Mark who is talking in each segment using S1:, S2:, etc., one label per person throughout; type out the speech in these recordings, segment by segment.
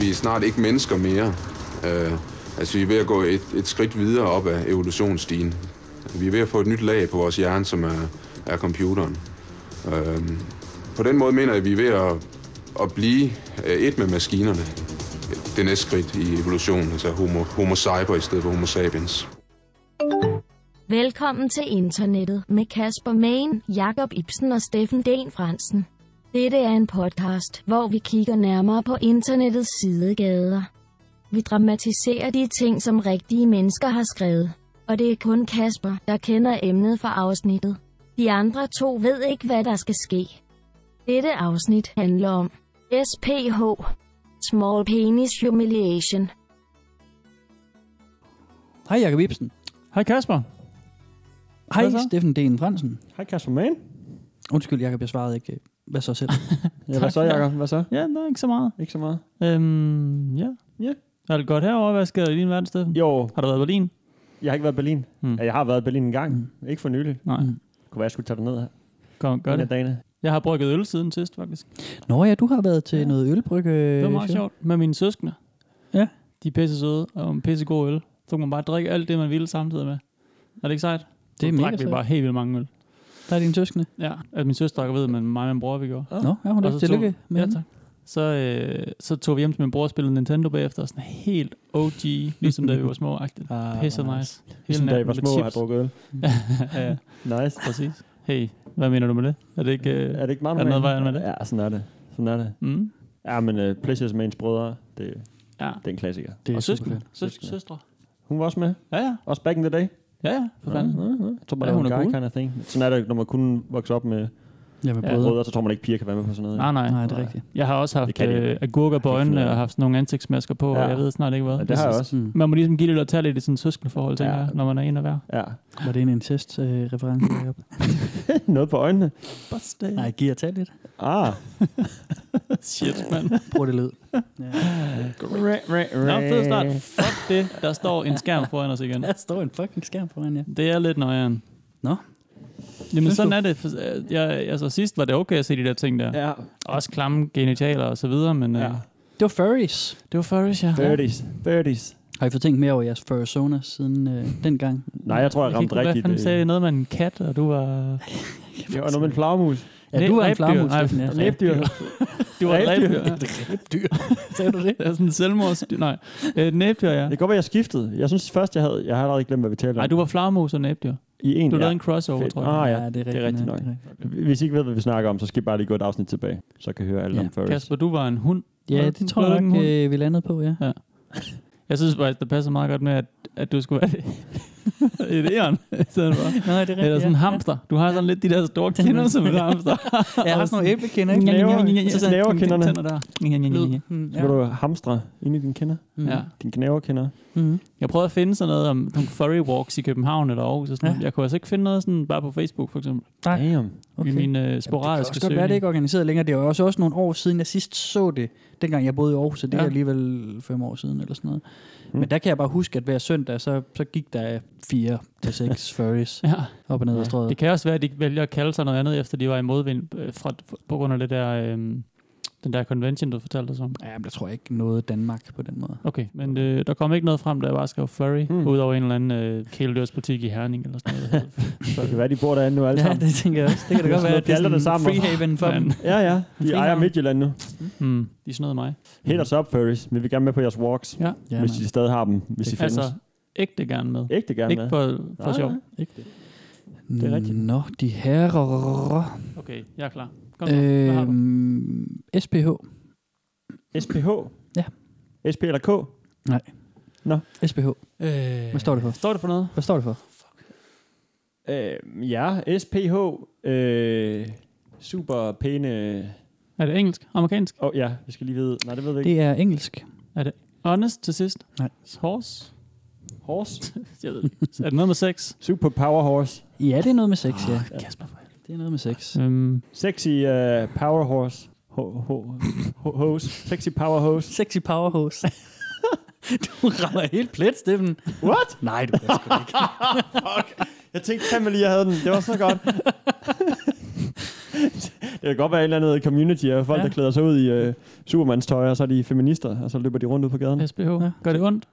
S1: Vi er snart ikke mennesker mere. Øh, altså, vi er ved at gå et, et skridt videre op ad evolutionsstigen. Vi er ved at få et nyt lag på vores hjerne, som er, er computeren. Øh, på den måde mener jeg, at vi er ved at, at blive øh, et med maskinerne. Det næste skridt i evolutionen, altså homo, homo cyber i stedet for homo sapiens.
S2: Velkommen til internettet med Kasper Main, Jakob Ibsen og Steffen Den Fransen. Dette er en podcast, hvor vi kigger nærmere på internettets sidegader. Vi dramatiserer de ting, som rigtige mennesker har skrevet. Og det er kun Kasper, der kender emnet for afsnittet. De andre to ved ikke, hvad der skal ske. Dette afsnit handler om SPH. Small Penis Humiliation.
S3: Hej Jakob Ibsen.
S4: Hej Kasper.
S3: Hej
S4: Hvad så?
S3: Steffen D. Fransen.
S4: Hej Kasper Mann.
S3: Undskyld Jakob, jeg svarede ikke. øh, Hvad så selv?
S4: Ja, hvad så,
S5: Tak.
S4: Jacob? Hvad så?
S5: Ja, der er ikke så meget.
S4: Ikke så meget.
S5: Øhm, ja.
S4: Ja.
S5: Er det godt herovre? Hvad sker der i din verden, Steffen?
S4: Jo,
S5: Har du været i Berlin?
S4: jeg har ikke været i Berlin.
S5: Hmm.
S4: Hmm. Jeg har været i Berlin en gang. Hmm. Ikke for nylig. Det
S5: Nej,
S3: Mm.
S4: kunne være, jeg skulle tage det ned her.
S5: kom, gør
S4: en af
S5: det.
S4: Dagene.
S5: Jeg har brugt øl siden sidst, faktisk.
S3: Nå ja, du har været til
S5: Ja.
S3: ja. noget ølbrygge.
S5: Det var meget sjovt med mine søskende.
S3: Øh, Ja.
S5: De er pisse søde og en pisse god øl. Så kunne man bare drikke alt det, man ville samtidig med. Er det ikke sejt?
S3: Det er
S5: Så
S3: mega
S5: drak vi
S3: sejt.
S5: bare helt vildt mange øl.
S3: Der er dine søskende.
S5: Ja, at min søster ikke ved, men mig og min bror, vi gjorde.
S3: Nå, ja, hun
S5: Og
S3: er
S5: så
S3: tillykke
S5: tog-
S3: med
S5: Ja,
S3: hende.
S5: tak. Så, øh, så tog vi hjem til min bror og spillede Nintendo bagefter. Sådan helt OG, ligesom da vi var små. Agtigt.
S3: Ah, hvor
S5: Pisse nice.
S4: Ligesom da
S5: natten
S4: jeg var
S5: med
S4: små og har
S5: chips.
S4: drukket øl.
S5: ja, ja,
S4: Nice.
S5: præcis. Hey, hvad mener du med det? Er det ikke... Øh,
S4: Er det ikke meget
S5: er der noget
S4: normalt?
S5: vejen med det?
S4: Ja, sådan er det. Sådan er det.
S5: mm?
S4: Ja, men uh, Pleasures Mans brødre, det,
S5: Ja.
S4: det er en klassiker.
S3: Det er
S5: og søskende.
S3: superfedt.
S5: Søs- søstre.
S4: Hun var også med.
S5: Ja, ja.
S4: Også back in the day.
S5: Ja, ja. For fanden.
S4: Ja, ja, ja. Jeg tror bare,
S5: Ja,
S4: ja,
S5: hun
S4: det
S5: er
S4: var en
S5: cool.
S4: guy kind of thing. Sådan er det, når man kun vokser op med
S3: Ja, med
S5: Ja.
S3: brødre.
S4: brødre, så tror man ikke, piger kan være med på sådan noget.
S5: Nej, nej.
S3: Nej, det er rigtigt.
S5: Jeg har også
S4: Det
S5: haft
S4: kan de ikke.
S5: øh, agurker på
S4: Det er
S5: øjnene
S4: fint.
S5: og haft sådan nogle ansigtsmasker på,
S4: Ja.
S5: og jeg ved snart ikke hvad.
S4: Ja, det har jeg også.
S3: Mm.
S5: Man må ligesom give lidt og tage lidt i sådan et søskendeforhold, tænker
S4: Ja.
S5: jeg, når man er en og hver.
S4: Ja.
S3: Var det en incest-reference, øh, Jakob?
S4: noget på øjnene.
S5: øh.
S3: Nej, giv og tag lidt.
S4: Ah.
S5: Shit, mand.
S3: Brug det lyd. Ja.
S5: Nå, fed start. Fuck det. Der står en skærm foran os igen.
S3: Der står en fucking skærm foran jer.
S5: Det er lidt nøjeren.
S3: Nå.
S5: Jamen
S3: Synes
S5: sådan
S3: du?
S5: er det. For, øh, Jeg, altså sidst var det okay at se de der ting der. Ja.
S4: Ja.
S5: Også klamme genitaler og så videre, men ja.
S4: ja.
S5: øh,
S3: Det var furries.
S5: det var furries, ja.
S4: 30s. 30s.
S3: Har I fået tænkt mere over jeres furzoner siden øh, dengang?
S4: Nej, jeg tror,
S5: Jeg
S4: jeg,
S5: kan
S4: ramte
S5: ikke, hvad
S4: rigtigt.
S5: fanden
S4: øh,
S5: sagde jeg? noget med en kat, og du var...
S4: Det var noget med en flagermus.
S3: Ja,
S5: Næ-
S3: du var en
S5: ræbdyr.
S3: flammus,
S5: Nej,
S3: Steffen. Ja.
S4: Læbdyr.
S5: Du var et
S4: Ræbdyr.
S5: ræbdyr.
S3: Et ræbdyr. Sagde du det?
S5: Det er sådan en selvmordsdyr. Nej, et næbdyr, ja.
S4: Det kan godt være, jeg skiftede. Jeg synes først, jeg havde... Jeg har allerede glemt, hvad vi talte om.
S5: Nej, du var flagermus og næbdyr.
S4: I en,
S5: Du
S4: ja.
S5: lavede en crossover,
S4: Fedt.
S5: tror jeg.
S4: Ah, ja.
S3: det er
S4: er rigtigt
S3: nok.
S4: nok. Hvis I ikke ved, hvad vi snakker om, så skal I bare lige gå et afsnit tilbage. Så kan I høre alt
S3: Ja.
S4: om furries.
S5: Kasper, du var en hund.
S3: Ja,
S5: Var
S3: det
S5: den-
S3: tror
S5: var
S3: jeg
S5: den
S3: nok,
S5: hund?
S3: øh, vi landede på, ja.
S5: Jeg synes faktisk, det passer meget godt med, at, at du skulle være det. et æren, i stedet for.
S3: Nej, det er
S5: Eller sådan en hamster. Du har sådan lidt de der store kinder, som en hamster.
S3: Jeg har sådan nogle æblekinder, ikke?
S4: Knæver-
S3: Så sådan-
S4: Knæverkinderne.
S5: Tænder der. Ja, ja, ja, ja.
S3: Mm,
S4: Så kan du hamstre ind i dine kinder.
S3: Mm.
S5: Ja.
S4: Din knæverkinder.
S3: Mm.
S5: Jeg prøvede at finde sådan noget om nogle furry walks i København eller Aarhus. Og sådan.
S3: Ja.
S5: Ja. Jeg kunne altså ikke finde noget sådan bare på Facebook, for eksempel.
S3: Nej.
S4: Damn.
S5: Okay. I min øh,
S3: Jamen, det kan
S5: sporadiske
S3: også godt være, det
S5: søgning.
S3: ikke er organiseret længere. Det er jo også, også nogle år siden, jeg sidst så det, dengang jeg boede i Aarhus, så det ja. er
S5: Ja.
S3: alligevel fem år siden eller sådan noget.
S4: Mm.
S3: Men der kan jeg bare huske, at hver søndag, så, så gik der fire til seks furries
S5: Ja.
S3: op og ned ad
S5: Det
S3: strøget.
S5: kan også være, at de vælger at kalde sig noget andet, efter de var i modvind øh, fra, på grund af det der, øh, den der convention, du fortalte os om.
S3: Ja, men der tror jeg ikke noget Danmark på den måde.
S5: Okay, men øh, der kom ikke noget frem, da jeg bare skrev furry,
S4: Hmm.
S5: hmm. udover en eller anden øh, kæledyrsbutik i Herning eller sådan noget. der hed
S4: Så kan
S5: furry.
S4: være, de bor derinde nu alle
S3: Ja,
S4: sammen.
S3: det tænker jeg også. Det kan da godt være, at det er
S4: Pjalterne
S3: sådan
S4: sammen og-
S3: free haven for dem.
S5: Men,
S4: Ja, ja. De ejer
S3: Frihavn.
S4: Midtjylland nu.
S5: mm, de snød mig.
S4: Hit os op, furries. Vi vil gerne med på jeres walks.
S5: Ja,
S3: Ja,
S4: Hvis I
S3: man.
S4: stadig har dem. Hvis I
S3: Det-
S4: findes.
S5: altså ægte gerne med.
S4: Ægte gerne
S5: Ikke
S4: med.
S5: for, for
S4: Nej,
S5: sjov.
S4: nej. Ikke det.
S3: det
S4: er rigtigt.
S3: Nå, de herrer.
S5: Okay, jeg er klar. Kom så. Hvad har du?
S3: Øhm, SPH.
S4: SPH?
S3: Ja.
S4: SP eller K?
S3: SPH.
S5: Øh,
S3: Hvad står det for?
S5: Står det for noget?
S3: Hvad står det for?
S4: Øh, ja, SPH. Øh, super pæne...
S5: Er det engelsk? Amerikansk?
S4: Åh oh, ja, vi skal lige vide. Nej, det ved vi ikke.
S3: Det er engelsk.
S5: Honest til sidst?
S3: Nej.
S5: Horse?
S4: Horse.
S5: Jeg ved det. ikke. er det noget med sex? Ah,
S4: Super power horse.
S3: Ja, det er noget med sex, ja.
S5: Kasper.
S3: Det er noget med sex.
S5: Øhm,
S4: Sexy uh, power horse. Ho, ho, ho, hose. Sexy power hose.
S3: Sexy powerhose. du rammer helt plet, Steffen.
S4: What?
S3: Nej, du gør sgu ikke.
S4: Jeg tænkte fandme lige, jeg havde den. Det var så godt. Det kan godt være et eller andet community af folk,
S5: Ja.
S4: ja. der klæder sig ud i øh, Supermans tøj, og så er de feminister, og så løber de rundt ud på gaden.
S5: SBH. Ja. Gør det ondt?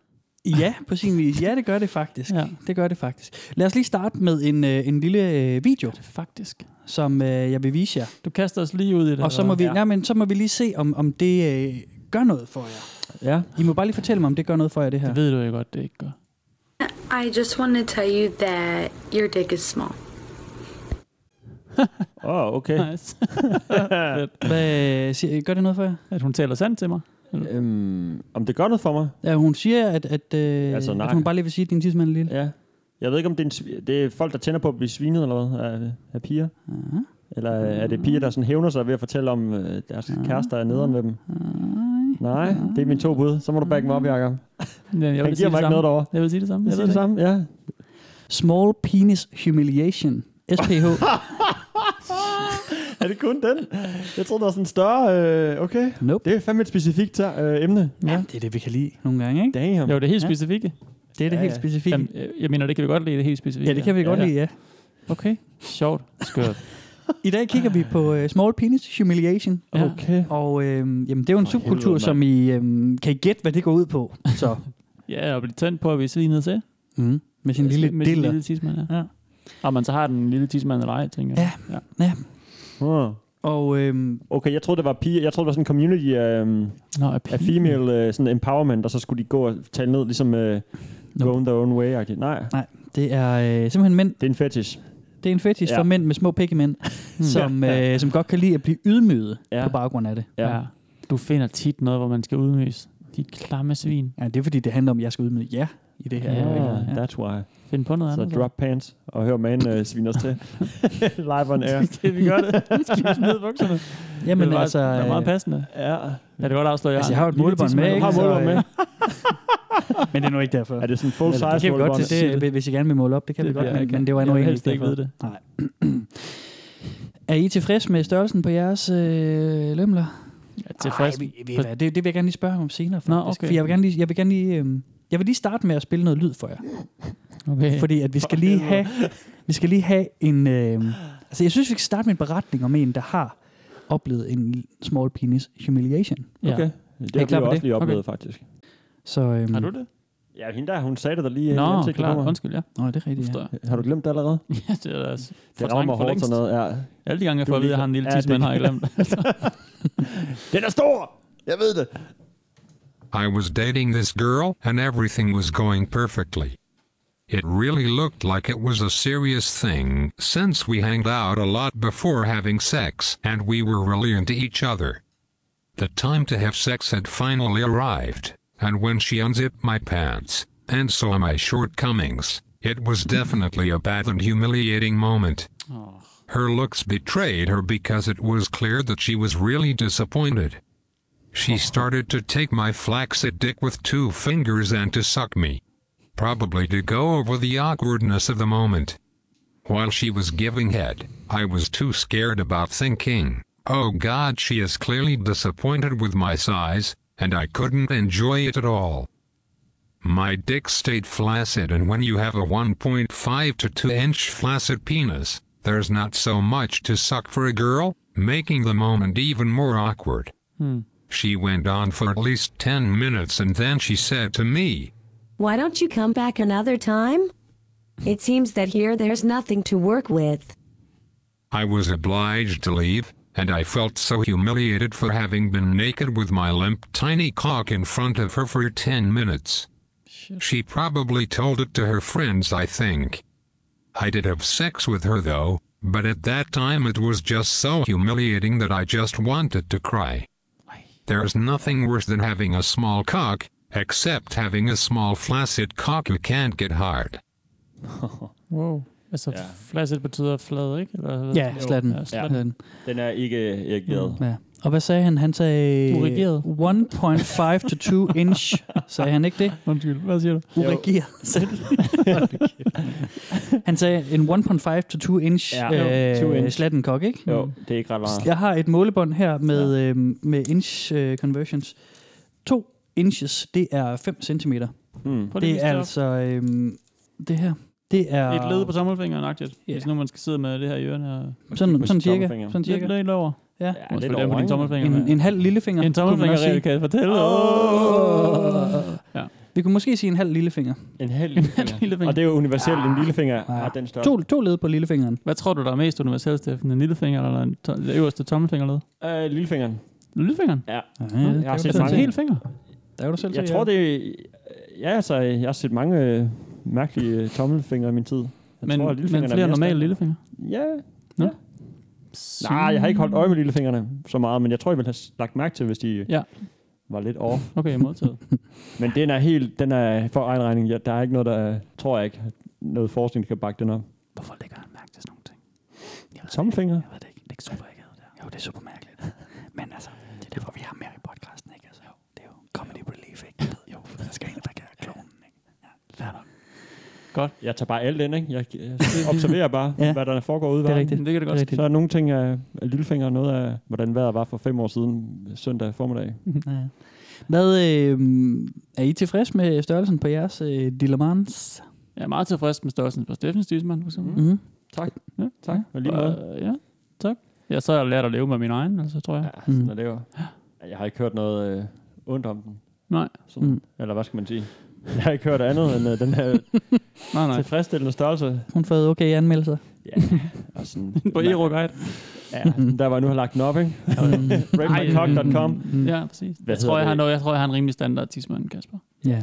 S3: Ja, på sin vis. Ja, det gør det faktisk.
S5: Ja.
S3: Ja. Det gør det faktisk. Lad os lige starte med en, øh, en lille øh, video,
S5: Faktisk.
S3: som øh, jeg vil vise jer.
S5: Du kaster os lige ud i det.
S3: Og så
S5: eller
S3: må vi,
S5: hvad?
S3: ja. men, så må vi lige se, om, om det øh, gør noget for jer.
S4: Ja.
S3: I må bare lige fortælle mig, om det gør noget for jer, det her.
S5: Det ved du jo godt, det ikke gør.
S6: I just want to tell you that your dick is small.
S4: Åh, oh, okay.
S5: Nice.
S3: Hvad, siger, gør det noget for jer?
S5: At hun taler sandt til mig.
S4: Øhm, om det gør noget for mig?
S3: Ja, hun siger, at, at, øh,
S4: Altså,
S3: altså,
S4: nej.
S3: at hun bare lige vil sige, at din tidsmand er lille.
S4: Ja. Jeg ved ikke, om det er, en, sv- det er folk, der tænder på at blive svinet eller hvad, af, af piger.
S3: Ja.
S4: Eller er det piger, der sådan hævner sig ved at fortælle om øh, deres kærester er nederen ved dem? Nej, Ah. det er mine to bud. Så må du back mig op, Jacob.
S5: Ja, jeg sige
S4: Han giver mig
S5: det
S4: ikke noget
S5: samme.
S4: derovre.
S5: Jeg vil sige det samme.
S4: Jeg
S5: ved
S4: siger det
S5: ikke.
S4: samme, ja.
S3: Small Penis Humiliation. SPH.
S4: Er det kun den? Jeg troede, der var sådan en større... Øh, okay.
S3: Nope.
S4: Det er fandme et specifikt øh, emne.
S3: Ja, det er det, vi kan lide nogle gange, ikke?
S4: Damn.
S5: Jo, det er helt
S3: Ja.
S5: specifikke.
S3: Det er det ja,
S4: Ja,
S3: helt
S4: ja.
S3: specifikke.
S5: Jamen, øh, jeg mener, det kan vi godt lide, det helt specifikke.
S3: ja, det kan vi godt
S5: ja.
S3: lide, ja.
S5: Okay. Sjovt. Skørt.
S3: I dag kigger vi på uh, Small Penis Humiliation.
S5: Ja.
S4: Okay.
S3: Og øhm, jamen, det er jo en
S4: For helvede,
S3: subkultur,
S4: mand.
S3: som I øhm, kan I gætte, hvad det går ud på. Så,
S5: Ja, og blive tændt på, at vi er svinet til.
S3: mm, med sin lille
S5: med Sin
S3: diller.
S5: lille tidsmand, ja.
S3: Ja.
S5: Og man så har den lille tidsmand eller ej, tænker jeg. Ja.
S4: Huh.
S3: Og øhm,
S4: Okay, jeg troede, det var piger. Jeg troede, det var sådan en community af, øhm,
S5: Nå, er
S4: af
S5: pigen-
S4: female øh, sådan empowerment, og så skulle de gå og tale ned, ligesom øh,
S3: Nope.
S4: go on their own way. -agtigt. Nej,
S3: det er øh, simpelthen mænd.
S4: det er en fetish.
S3: Det er en fetish
S4: Ja.
S3: ja. for mænd med små pikkemænd, som,
S4: Ja.
S3: øh, som godt kan lide at blive ydmyget
S4: Ja.
S3: ja. på baggrund af det.
S4: Ja.
S5: Ja. Du finder tit noget, hvor man skal udmøse. De klamme svin.
S3: Ja, det er fordi, det handler om, at jeg skal ydmyge jer i det her.
S5: Ja,
S3: ikke?
S4: yeah, that's why.
S5: Find på noget
S4: Så
S5: andet.
S4: drop pants og hør man øh, svine os til. Live on air.
S5: Skal vi gøre det? Skal vi smide bukserne?
S3: Jamen
S5: det var,
S3: altså,
S5: Det er meget
S3: øh,
S5: passende.
S4: Ja.
S5: Ja, det er godt afsløret.
S3: altså, jeg har jo et målebånd med,
S4: Du
S3: ikke?
S4: har
S3: Så,
S4: målebånd med.
S3: øh, men det er nu ikke derfor.
S4: Er det sådan full
S3: Eller,
S4: size
S3: det kan vi godt
S4: målebånd?
S3: til, det, hvis I gerne vil måle op, det kan det,
S5: Det
S3: vi godt,
S5: bliver
S3: men,
S5: ikke-
S3: men det var endnu
S5: jeg vil
S3: egentlig
S5: helst ikke
S3: derfor.
S5: vide
S3: Nej. er I tilfreds med størrelsen på jeres øh, lømler?
S5: Ja, tilfreds.
S3: Ej, vi- vi- det, det vil jeg gerne lige spørge ham om senere, faktisk.
S5: Nå, okay.
S3: For jeg vil gerne lige, jeg vil gerne lige, øh, jeg vil lige starte med at spille noget lyd for jer,
S5: Okay.
S3: fordi at vi skal lige have, vi skal lige have en, øh, altså jeg synes, vi skal starte med en beretning om en, der har oplevet en small penis humiliation.
S5: Ja.
S4: Okay. Det
S3: Er I
S4: har vi
S3: klar
S4: jo
S3: på
S4: også
S3: det?
S4: lige
S5: Okay.
S4: oplevet, faktisk.
S3: Så, øh,
S5: Har du det?
S4: Ja, hende der, hun sagde det da lige.
S5: Nå,
S4: i ansigtet på
S5: klart.
S4: mig.
S5: Undskyld, ja.
S3: Nå, det er rigtigt,
S5: Forstår
S3: ja.
S5: jeg.
S4: Har du glemt det allerede?
S5: Ja, det er altså
S4: Det rammer
S5: for
S4: hårdt
S5: længst.
S4: sådan noget. Ja.
S5: Alle de gange, jeg
S4: Du
S5: får
S4: er
S5: at vide, at
S4: ligeglad.
S5: han en lille
S4: Ja, det-
S5: tidsmand, har jeg glemt.
S4: Den er stor! Jeg ved det.
S5: Mm.
S7: I was dating this girl, and everything was going perfectly. It really looked like it was a serious thing, since we hanged out a lot before having sex, and we were really into each other. The time to have sex had finally arrived, and when she unzipped my pants and saw my shortcomings, it was definitely a bad and humiliating moment. Her looks betrayed her because it was clear that she was really disappointed. She started to take my flaccid dick with two fingers and to suck me. Probably to go over the awkwardness of the moment. While she was giving head, I was too scared about thinking, oh god, she is clearly disappointed with my size, and I couldn't enjoy it at all. My dick stayed flaccid, and when you have a 1.5 to 2 inch flaccid penis, there's not so much to suck for a girl, making the moment even more awkward. She went on for at least 10 minutes and then she said to me,
S8: Why don't you come back another time? It seems that here there's nothing to work with.
S7: I was obliged to leave, and I felt so humiliated for having been naked with my limp tiny cock in front of her for 10 minutes. She probably told it to her friends, I think. I did have sex with her though, but at that time it was just so humiliating that I just wanted to cry. There's nothing worse than having a small cock, except having a small flaccid cock you can't get hard.
S5: wow. Altså,
S4: Ja.
S5: flaccid betyder flad, ikke? Eller, hvad?
S3: øh, Ja, slatten.
S5: Ja,
S3: Ja.
S5: slatten.
S3: slatten.
S4: Den er ikke erigeret.
S3: Ja. Og hvad sagde han? Han sagde
S5: Urigeret.
S3: 1.5 to 2 inch. Sagde han ikke det?
S5: Undskyld, hvad siger du?
S3: Urigeret. sagde han. han sagde en 1.5 to 2 inch,
S4: Ja,
S3: ja,
S4: jo, 2
S3: øh,
S4: inch.
S3: slatten kok, ikke?
S4: Jo, det er ikke ret meget.
S3: Jeg har et målebånd her med, øh, med inch øh, conversions. 2 inches, det er 5 centimeter.
S4: Mm.
S5: Prøv lige
S3: Det
S5: at
S3: er
S5: vise op.
S3: altså øh, det her. Det er...
S5: Et led på tommelfingeren, agtigt.
S3: Ja.
S5: Yeah. Hvis nu man skal sidde med det her i ørerne. Og...
S3: Sådan,
S4: På
S3: sådan cirka.
S4: tommelfingeren.
S3: Sådan cirka.
S5: Lidt lidt over.
S3: Ja.
S4: Ja,
S5: Måske
S4: lidt
S5: det er på
S4: over,
S5: din
S4: ikke?
S5: tommelfinger.
S3: En, en halv lillefinger.
S5: en tommelfinger,
S3: kunne man også
S5: kan jeg fortælle.
S3: sige.
S5: Ja.
S3: Vi kunne måske sige en halv lillefinger.
S4: En halv lillefinger.
S5: lillefinger.
S4: Og det er jo universelt,
S5: Ah,
S4: en lillefinger har den størrelse.
S3: To, to led på lillefingeren.
S5: Hvad tror du, der er mest universelt, Steffen? En lillefinger eller en to- det øverste tommelfingerled?
S4: Øh, lillefingeren.
S5: Lillefingeren?
S4: Ja,
S3: Ja,
S4: jeg har
S5: Det
S4: set
S5: er en
S4: mange.
S5: hel finger.
S3: Der er du selv.
S4: Jeg
S3: til,
S4: tror,
S3: ja.
S4: det er... Ja, altså, jeg har set mange øh, mærkelige øh, tommelfingre i min tid. Jeg
S5: Men,
S4: tror, at
S5: men
S4: lillefingeren er
S5: flere
S4: mere
S5: normale
S4: stærk.
S5: lillefinger.
S4: Ja. Nej, jeg har ikke holdt øje med lillefingrene så meget, men jeg tror, jeg ville have s- lagt mærke til, hvis de
S5: Ja.
S4: ja. var lidt off.
S5: Okay, modtaget.
S4: Men den er helt, den er for egen regning. Ja, der er ikke noget, der, tror jeg ikke, noget forskning, der kan bakke den op.
S3: Hvorfor lægger han mærke til sådan nogle ting? Jeg ved,
S4: Tommelfinger?
S3: jeg ved det ikke. Det er ikke super akavet der. Jo, det er super mærkeligt. Men altså, det er derfor, vi har mere i podcasten, ikke? Altså, det er jo comedy relief, ikke? Jeg ved Jo, for der skal en, der kan klonen, ikke? Ja, fair nok.
S4: Jeg tager bare alt ind, ikke? Jeg, jeg observerer bare,
S3: Ja.
S4: ja. hvad der foregår ude i
S3: Det er
S4: verden.
S3: rigtigt.
S5: det kan det godt.
S4: Så er nogle ting af af lillefinger, og noget af, hvordan vejret var for fem år siden, søndag formiddag.
S3: Ja. Hvad, øh, er I tilfreds med størrelsen på jeres øh, dilemmas?
S5: Jeg er meget tilfreds med størrelsen på Steffens Dysman, for eksempel.
S3: Mm.
S4: Tak, og lige måde.
S5: Øh, ja, tak. Ja, så har jeg lært at leve med min egen, altså, tror jeg.
S4: Ja, sådan er det jo. Jeg har ikke hørt noget øh, ondt om den.
S5: Nej.
S4: Sådan.
S3: Mm.
S4: Eller hvad skal man sige? Jeg har ikke hørt andet end øh, den her
S5: Nej, nej.
S4: tilfredsstillende størrelse.
S3: Hun har fået okay anmeldelser.
S4: Og sådan,
S5: På
S4: nej,
S5: e Guide.
S4: Ja, sådan der var jeg Altså, nu har lagt den op, ikke? Rapemycock.com.
S5: mm, Ja, præcis.
S4: Hvad
S5: Jeg tror,
S4: hedder
S5: jeg, har
S4: det?
S5: noget, jeg tror, jeg har en rimelig standard tidsmand, Kasper.
S3: Ja.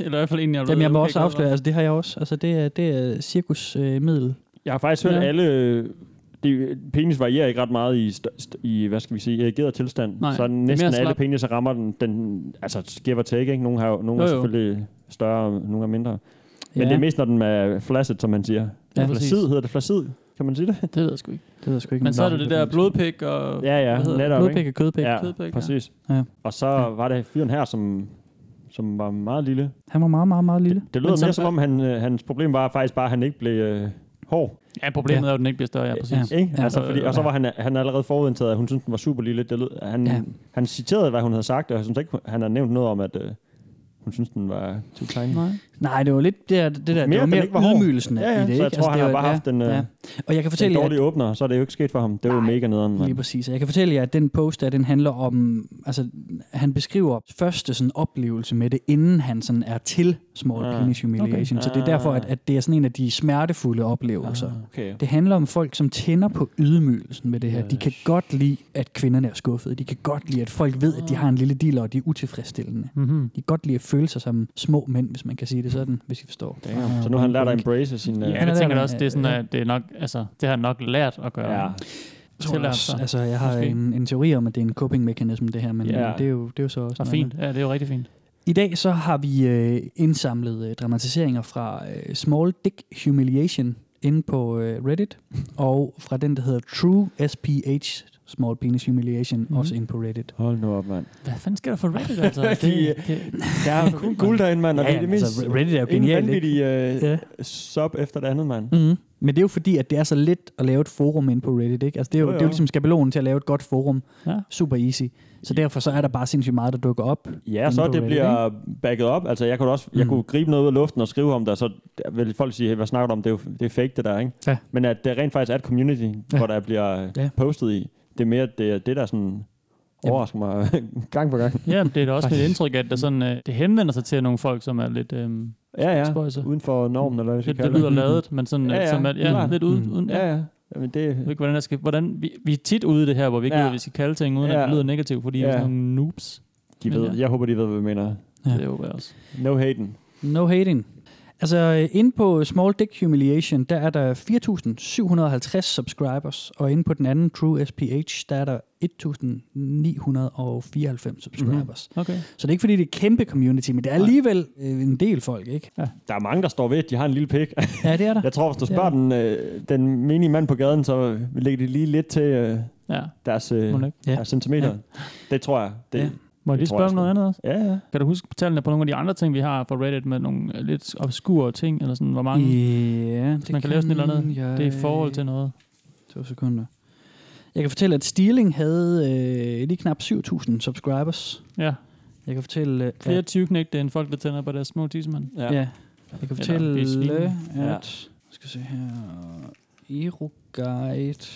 S5: Eller i hvert fald en, jeg er
S3: Jamen, jeg
S5: blevet
S3: må
S5: okay
S3: også
S5: glad for.
S3: afsløre, altså det har jeg også. Altså det er, det er cirkusmiddel. Øh,
S4: Jeg har faktisk hørt
S5: Ja.
S4: ja. alle... øh, Det, penis varierer ikke ret meget i, st- st- i hvad skal vi sige, erigeret tilstand.
S5: Nej,
S4: Nej, så
S5: det er mere
S4: næsten alle
S5: slap.
S4: peniser rammer den, den altså give og take, ikke? Nogle, har, jo- nogle
S5: Jo,
S4: er
S5: jo.
S4: selvfølgelig større, og nogle er mindre. Men
S3: ja.
S4: det er mest, når den er flaccid, som man siger.
S3: Ja,
S4: Ja,
S5: præcis.
S4: flacid hedder det, flacid. Kan man sige det?
S5: Det ved jeg sgu ikke.
S3: Det ved jeg sgu ikke.
S5: Men
S3: om
S5: så er
S3: der
S5: det det der blodpik og...
S4: Ja, ja,
S5: Hvad hedder det?
S4: netop,
S3: Blodpik
S4: ikke?
S3: og kødpik. Ja.
S4: Ja,
S5: Kødpæk, ja.
S4: præcis.
S3: Ja.
S4: Ja. Og så var der fyren her, som, som var meget lille.
S3: Han var meget, meget, meget lille.
S4: Det lød
S5: som-
S4: mere som om, han, øh, hans problem var faktisk bare, at han ikke blev øh, hård.
S5: Ja, problemet er jo, at den ikke bliver større, ja, præcis.
S4: Ikke?
S3: Ja.
S4: Ja, altså, fordi, og så var han, han allerede forudindtaget, at hun syntes, den var super lille. Det lød, han,
S3: Ja.
S4: ja. han citerede, hvad hun havde sagt, og jeg synes ikke, han har nævnt noget om, at øh, hun syntes, den var too tiny.
S5: Nej.
S3: Nej, det var lidt det der, det der,
S4: Mere,
S3: det var
S4: den
S3: mere
S4: ikke var hård.
S3: ydmygelsen
S4: Ja, ja,
S3: i det.
S4: så jeg
S3: ikke? Altså,
S4: tror,
S3: det
S4: han har
S3: var-
S4: bare haft en, øh,
S3: Og jeg kan
S4: En
S3: fortælle jer,
S4: dårlig åbner, så er det jo ikke sket for ham. Det var jo mega nederen,
S3: Lige
S4: mand.
S3: præcis. Og Jeg kan fortælle jer, at den post, der, den handler om, altså han beskriver første sådan oplevelse med det, inden han sådan er til small
S4: Ah,
S3: penis humiliation. Så det er derfor, at, at det er sådan en af de smertefulde oplevelser.
S4: Ah, Okay.
S3: Det handler om folk, som tænder på ydmygelsen med det her. De kan godt lide, at kvinderne er skuffede. De kan godt lide, at folk ved, at de har en lille dealer, og de er utilfredsstillende.
S5: Mm-hmm.
S3: De kan godt lide at føle sig som små mænd, hvis man kan sige det sådan, hvis I forstår.
S4: Damn. Så nu har han lært at embrace sin... Øh,
S5: Ja,
S3: han er
S5: jeg tænker
S3: der,
S5: da også, det er sådan,
S3: ja.
S5: at det er nok, altså, det har han nok lært at gøre.
S4: ja.
S3: Jeg tror
S5: Tillært
S3: også,
S5: sig.
S3: altså, jeg har
S5: Måske.
S3: en, en teori om, at det er en coping-mekanisme, det her, men
S4: Ja.
S3: men det, er jo, det er jo så også
S5: Og
S3: noget andet.
S5: fint. Ja, det er jo rigtig fint.
S3: I dag så har vi øh, indsamlet øh, dramatiseringer fra øh, Small Dick Humiliation inde på øh, Reddit, og fra den, der hedder True SPH Small Penis Humiliation, mm. også inde på Reddit.
S4: Mhm. Hold nu op, mand.
S5: Hvad fanden sker der for Reddit, altså? det,
S4: De- øh,
S5: det,
S4: Der er kun guld derinde, mand. Og
S3: Ja,
S4: det er det
S3: jamen,
S4: mest...
S3: altså, Reddit er jo
S4: en
S3: genialt,
S4: vanvittig øh,
S3: Ja.
S4: sub efter det andet, mand.
S3: Mm. Men det er jo fordi, at det er så let at lave et forum inde på Reddit, ikke? Altså, det er jo,
S4: Jo,
S3: det
S4: jo.
S3: er jo ligesom skabelonen til at lave et godt forum.
S5: Ja.
S3: Super easy. Så derfor så er der bare sindssygt meget, der dukker op.
S4: Ja,
S3: inde
S4: så
S3: på
S4: det
S3: Reddit,
S4: bliver backet op. Altså, jeg kunne, også, jeg kunne gribe noget ud af luften og skrive om det, og så vil folk sige, hey, hvad snakker du om? Det er, jo, det er fake, det der, ikke?
S3: Ja.
S4: Men at det rent faktisk er et community,
S3: Ja.
S4: ja. hvor der bliver
S3: Ja.
S4: ja. postet i. Det er mere det, er det der sådan overrasker mig gang på gang.
S5: ja, det er da også mit indtryk, at der sådan, øh, det henvender sig til nogle folk, som er lidt... Øh,
S4: Ja, ja.
S5: Spøjse.
S4: Uden for normen, eller hvad jeg skal
S5: lidt
S4: kalde
S5: det lyder ladet, men sådan, ja,
S4: Ja,
S5: ja,
S4: ja,
S5: som at, ja,
S4: klart. Mm.
S5: lidt ude, uden, ja.
S4: Ja, ja. Jamen,
S5: Jeg ved
S4: det,
S5: ikke, hvordan jeg skal, hvordan, vi, vi er tit ude i det her, hvor vi ikke ja.
S4: Ja.
S5: ved, at vi skal kalde ting, uden ja.
S4: Ja.
S5: at det lyder negativt, fordi ja. vi er
S4: Ja.
S5: sådan nogle noobs.
S4: de
S5: Men
S4: ved,
S5: ja.
S4: jeg håber, de ved, hvad jeg mener.
S3: Ja.
S5: Ja. Det håber jeg også.
S4: No hating.
S3: No hating. Altså, øh, inde på Small Dick Humiliation, der er der 4.750 subscribers, og inde på den anden, True SPH, der er der 1.994 subscribers. Mm-hmm.
S5: Mhm. Okay.
S3: Så det er ikke, fordi det er et kæmpe community, men det er alligevel øh, en del folk, ikke?
S4: Der er mange, der står ved, at de har en lille pik.
S3: Ja, det er der.
S4: Jeg tror, hvis du spørger
S3: Ja.
S4: den, øh, den menige mand på gaden, så lægger de lige lidt til øh,
S5: Ja.
S4: deres, øh,
S5: Må det ikke?
S3: Ja.
S4: deres centimeter.
S3: Ja.
S4: Ja. Det tror jeg. Det,
S3: Ja.
S4: ja.
S5: Må jeg
S4: Det
S5: lige
S4: tror
S5: spørge
S4: jeg
S5: om noget andet også?
S4: ja, ja.
S5: Kan du huske tallene på nogle af de andre ting, vi har fra Reddit med nogle øh, lidt obskure ting, eller sådan, hvor mange yeah.
S4: Øh,
S3: Ja,
S5: man kan lave sådan et eller andet?
S3: Jeg...
S5: det er i forhold til noget?
S3: To sekunder. Jeg kan fortælle, at Stealing havde øh, lige knap 7.000 subscribers.
S5: Ja.
S3: Jeg kan fortælle... Øh,
S5: Flere ja. tyvknægte end folk, der tænder på deres små tissemand.
S3: ja. ja. Jeg kan
S5: Eller
S3: fortælle, øh,
S5: besvin.
S3: at...
S5: Ja.
S3: Ja. Skal se her... Euroguide